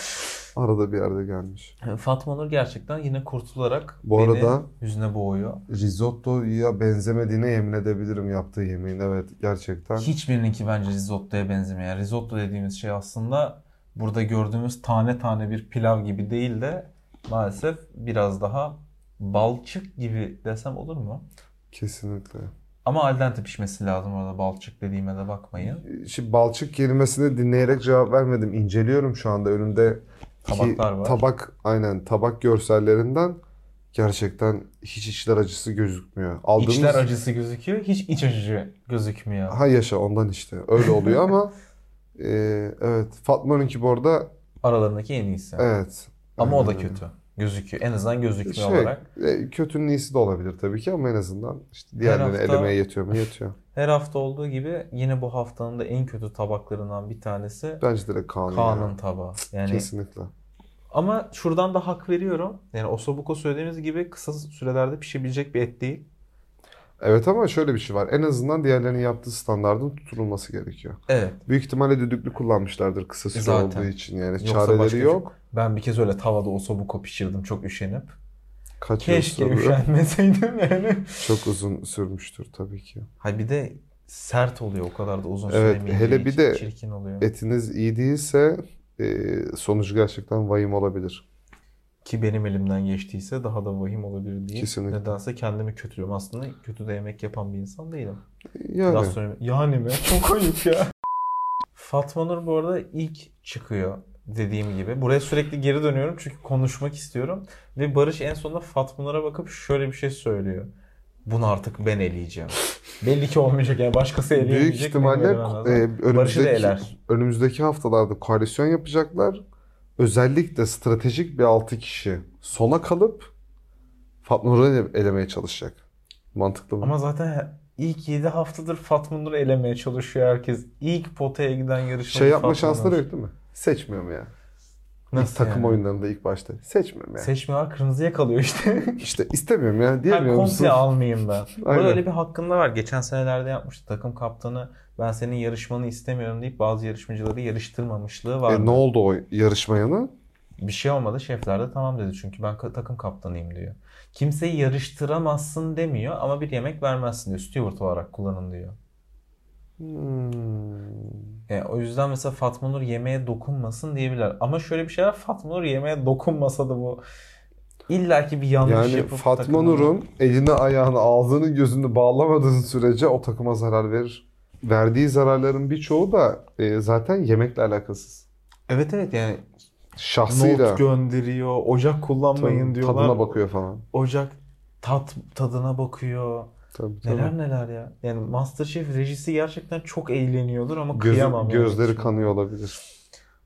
C: Arada bir yerde gelmiş.
B: Fatma Nur gerçekten yine kurtularak
C: Bu
B: beni
C: arada-
B: hüzne boğuyor.
C: Risotto'ya benzemediğine yemin edebilirim yaptığı yemeğin. Evet gerçekten.
B: Hiçbirininki bence risottoya benzemiyor. Yani risotto dediğimiz şey aslında burada gördüğümüz tane tane bir pilav gibi değil de maalesef biraz daha balçık gibi desem olur mu?
C: Kesinlikle.
B: Ama al dente pişmesi lazım orada balçık dediğime de bakmayın.
C: Şimdi balçık kelimesini dinleyerek cevap vermedim. İnceliyorum şu anda önümde iki
B: Tabaklar var.
C: Tabak aynen tabak görsellerinden gerçekten hiç içler acısı gözükmüyor. Aldığımız
B: İçler acısı gözüküyor, hiç iç acısı gözükmüyor.
C: Ha yaşa ondan işte. Öyle oluyor ama e, evet Fatma'nınki bu arada
B: Aralarındaki en iyisi.
C: evet.
B: Ama o da
C: Aynen öyle.
B: kötü. Gözüküyor. En azından gözükmüyor
C: Şey,
B: olarak.
C: e, kötünün iyisi de olabilir tabii ki ama en azından işte diğerlerini
B: hafta-
C: elemeye yetiyor mu yetiyor.
B: Her hafta olduğu gibi yine bu haftanın da en kötü tabaklarından bir tanesi
C: Bence direkt Kaan. ya.
B: Kaan'ın tabağı. Yani
C: Kesinlikle.
B: ama şuradan da hak veriyorum. Yani osobuko söylediğimiz gibi kısa sürelerde pişebilecek bir et değil.
C: Evet ama şöyle bir şey var. En azından diğerlerinin yaptığı standardın tutulması gerekiyor.
B: Evet.
C: Büyük ihtimalle düdüklü kullanmışlardır kısa süre
B: Zaten.
C: olduğu için yani.
B: Yoksa başka
C: Çareleri yok.
B: Ben bir kez öyle tavada osobuko pişirdim çok üşenip.
C: Kaçıyor
B: Keşke
C: sürü.
B: üşenmeseydim yani.
C: Çok uzun sürmüştür tabii ki.
B: Ha bir de sert oluyor o kadar da uzun
C: Evet,
B: süremeyeceği
C: hele bir
B: için
C: de
B: çirkin oluyor.
C: Etiniz iyi değilse e, sonucu gerçekten vahim olabilir.
B: Ki benim elimden geçtiyse daha da vahim olabilir diye.
C: Kesinlikle.
B: Nedense kendimi kötülüyorum. Aslında kötü de yemek yapan bir insan değilim.
C: Yani
B: Gastronomi- Yani mi? Çok ayıp ya. Fatma Nur bu arada ilk çıkıyor dediğim gibi. Buraya sürekli geri dönüyorum çünkü konuşmak istiyorum. Ve Barış en sonunda Fatma Nur'a bakıp şöyle bir şey söylüyor. Bunu artık ben eleyeceğim. Belli ki olmayacak yani başkası eleyemeyecek.
C: büyük
B: benim
C: ihtimalle
B: elemem lazım.
C: e,
B: Barış'ı da
C: önümüzdeki,
B: eler.
C: önümüzdeki haftalarda koalisyon yapacaklar. Özellikle stratejik bir 6 kişi sona kalıp Fatma Nur'u ele- elemeye çalışacak. Mantıklı mı?
B: Ama zaten ilk 7 haftadır Fatma Nur'u elemeye çalışıyor herkes. İlk potaya giden yarışmacı
C: şey yapma
B: Fatma Nur.
C: şansları yok değil mi? Seçmiyorum ya.
B: Nasıl
C: İlk takım
B: yani?
C: oyunlarında ilk başta. Seçmiyorum ya.
B: Seçmiyorlar kırmızıya kalıyor işte.
C: işte istemiyorum ya.
B: Ben
C: Diyemiyor musun?
B: komple almayayım ben.
C: Aynen. E,
B: Böyle öyle bir hakkında var. Geçen senelerde yapmıştı takım kaptanı. Ben senin yarışmanı istemiyorum deyip bazı yarışmacıları yarıştırmamışlığı vardı.
C: E, ne oldu o yarışma yanı?
B: Bir şey olmadı. Şefler de tamam dedi. Çünkü ben ka- takım kaptanıyım diyor. Kimseyi yarıştıramazsın demiyor ama bir yemek vermezsin diyor. Steward olarak kullanın diyor. E, o yüzden mesela Fatma Nur yemeğe dokunmasın diyebilirler. Ama şöyle bir şey var. Fatma Nur yemeğe dokunmasa da bu illaki bir yanlış
C: Yani
B: yapıp
C: Fatma
B: takımın-
C: Nur'un elini, ayağını, ağzını, gözünü bağlamadığın sürece o takıma zarar verir. Verdiği zararların birçoğu da e, zaten yemekle alakasız.
B: Evet evet yani
C: Şahsıyla
B: Not gönderiyor. Ocak kullanmayın
C: tabii,
B: diyorlar.
C: tadına bakıyor falan.
B: Ocak tat tadına bakıyor.
C: Tabii, tabii.
B: Neler neler ya. Yani MasterChef rejisi gerçekten çok eğleniyordur ama
C: Gözü-
B: kıyamam. yani.
C: gözleri kanıyor olabilir.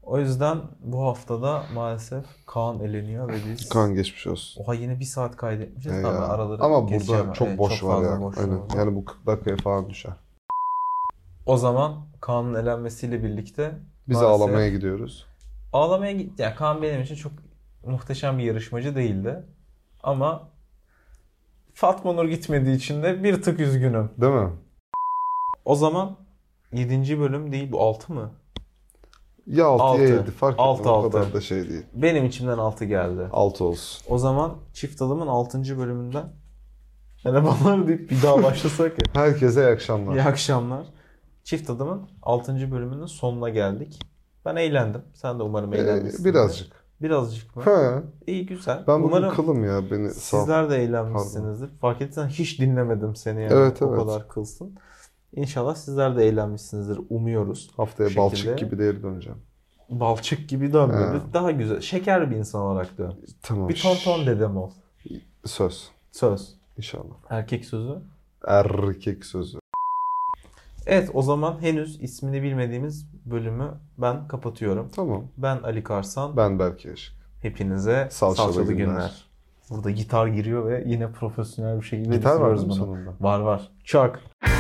B: O yüzden bu haftada maalesef Kaan eleniyor ve biz
C: Kan geçmiş olsun.
B: Oha yine bir saat kaydetmişiz.
C: E
B: Tamam,
C: ya.
B: araları
C: Ama
B: geçeceğim.
C: burada çok
B: Evet,
C: boş var
B: fazla
C: ya.
B: boş
C: Aynen.
B: var.
C: Yani bu 40 dakikaya falan düşer.
B: O zaman Kaan'ın elenmesiyle birlikte
C: Biz
B: maalesef-
C: ağlamaya gidiyoruz.
B: Ağlamaya gitti. Yani Kaan benim için çok muhteşem bir yarışmacı değildi. Ama Fatma Nur gitmediği için de bir tık üzgünüm.
C: Değil mi?
B: O zaman 7. bölüm değil bu 6 mı?
C: Ya 6 ya
B: Altı.
C: 7 fark
B: Altı,
C: etmez. O
B: altı.
C: kadar da şey değil.
B: Benim içimden 6 geldi.
C: 6 olsun.
B: O zaman çift alımın 6. bölümünden merhabalar deyip bir daha başlasak ya.
C: Herkese iyi akşamlar.
B: İyi akşamlar. Çift adamın 6. bölümünün sonuna geldik. Ben eğlendim. Sen de umarım
C: Ee,
B: eğlenmişsin.
C: birazcık.
B: Birazcık mı?
C: Ha.
B: İyi güzel.
C: Ben bugün
B: umarım
C: kılım ya beni sağ
B: sizler de eğlenmişsinizdir. Fark etsen hiç dinlemedim seni yani.
C: Evet,
B: o
C: evet.
B: kadar kılsın. İnşallah sizler de eğlenmişsinizdir. Umuyoruz.
C: Haftaya
B: Bu
C: balçık
B: şekilde.
C: gibi değeri döneceğim.
B: Balçık gibi dön
C: Ha.
B: böyle. Daha güzel. Şeker bir insan olarak dön.
C: Tamam.
B: Bir tonton dedem ol.
C: Söz.
B: Söz.
C: İnşallah.
B: Erkek sözü.
C: Erkek sözü.
B: Evet o zaman henüz ismini bilmediğimiz bölümü ben kapatıyorum.
C: Tamam.
B: Ben Ali Karsan.
C: Ben belki yaşık.
B: Hepinize
C: Salçalı
B: salçalı,
C: günler.
B: günler. Burada gitar giriyor ve yine profesyonel bir şey şekilde
C: Gitar var
B: bitiriyoruz
C: mı
B: bunu.
C: sonunda?
B: Var var. Çak.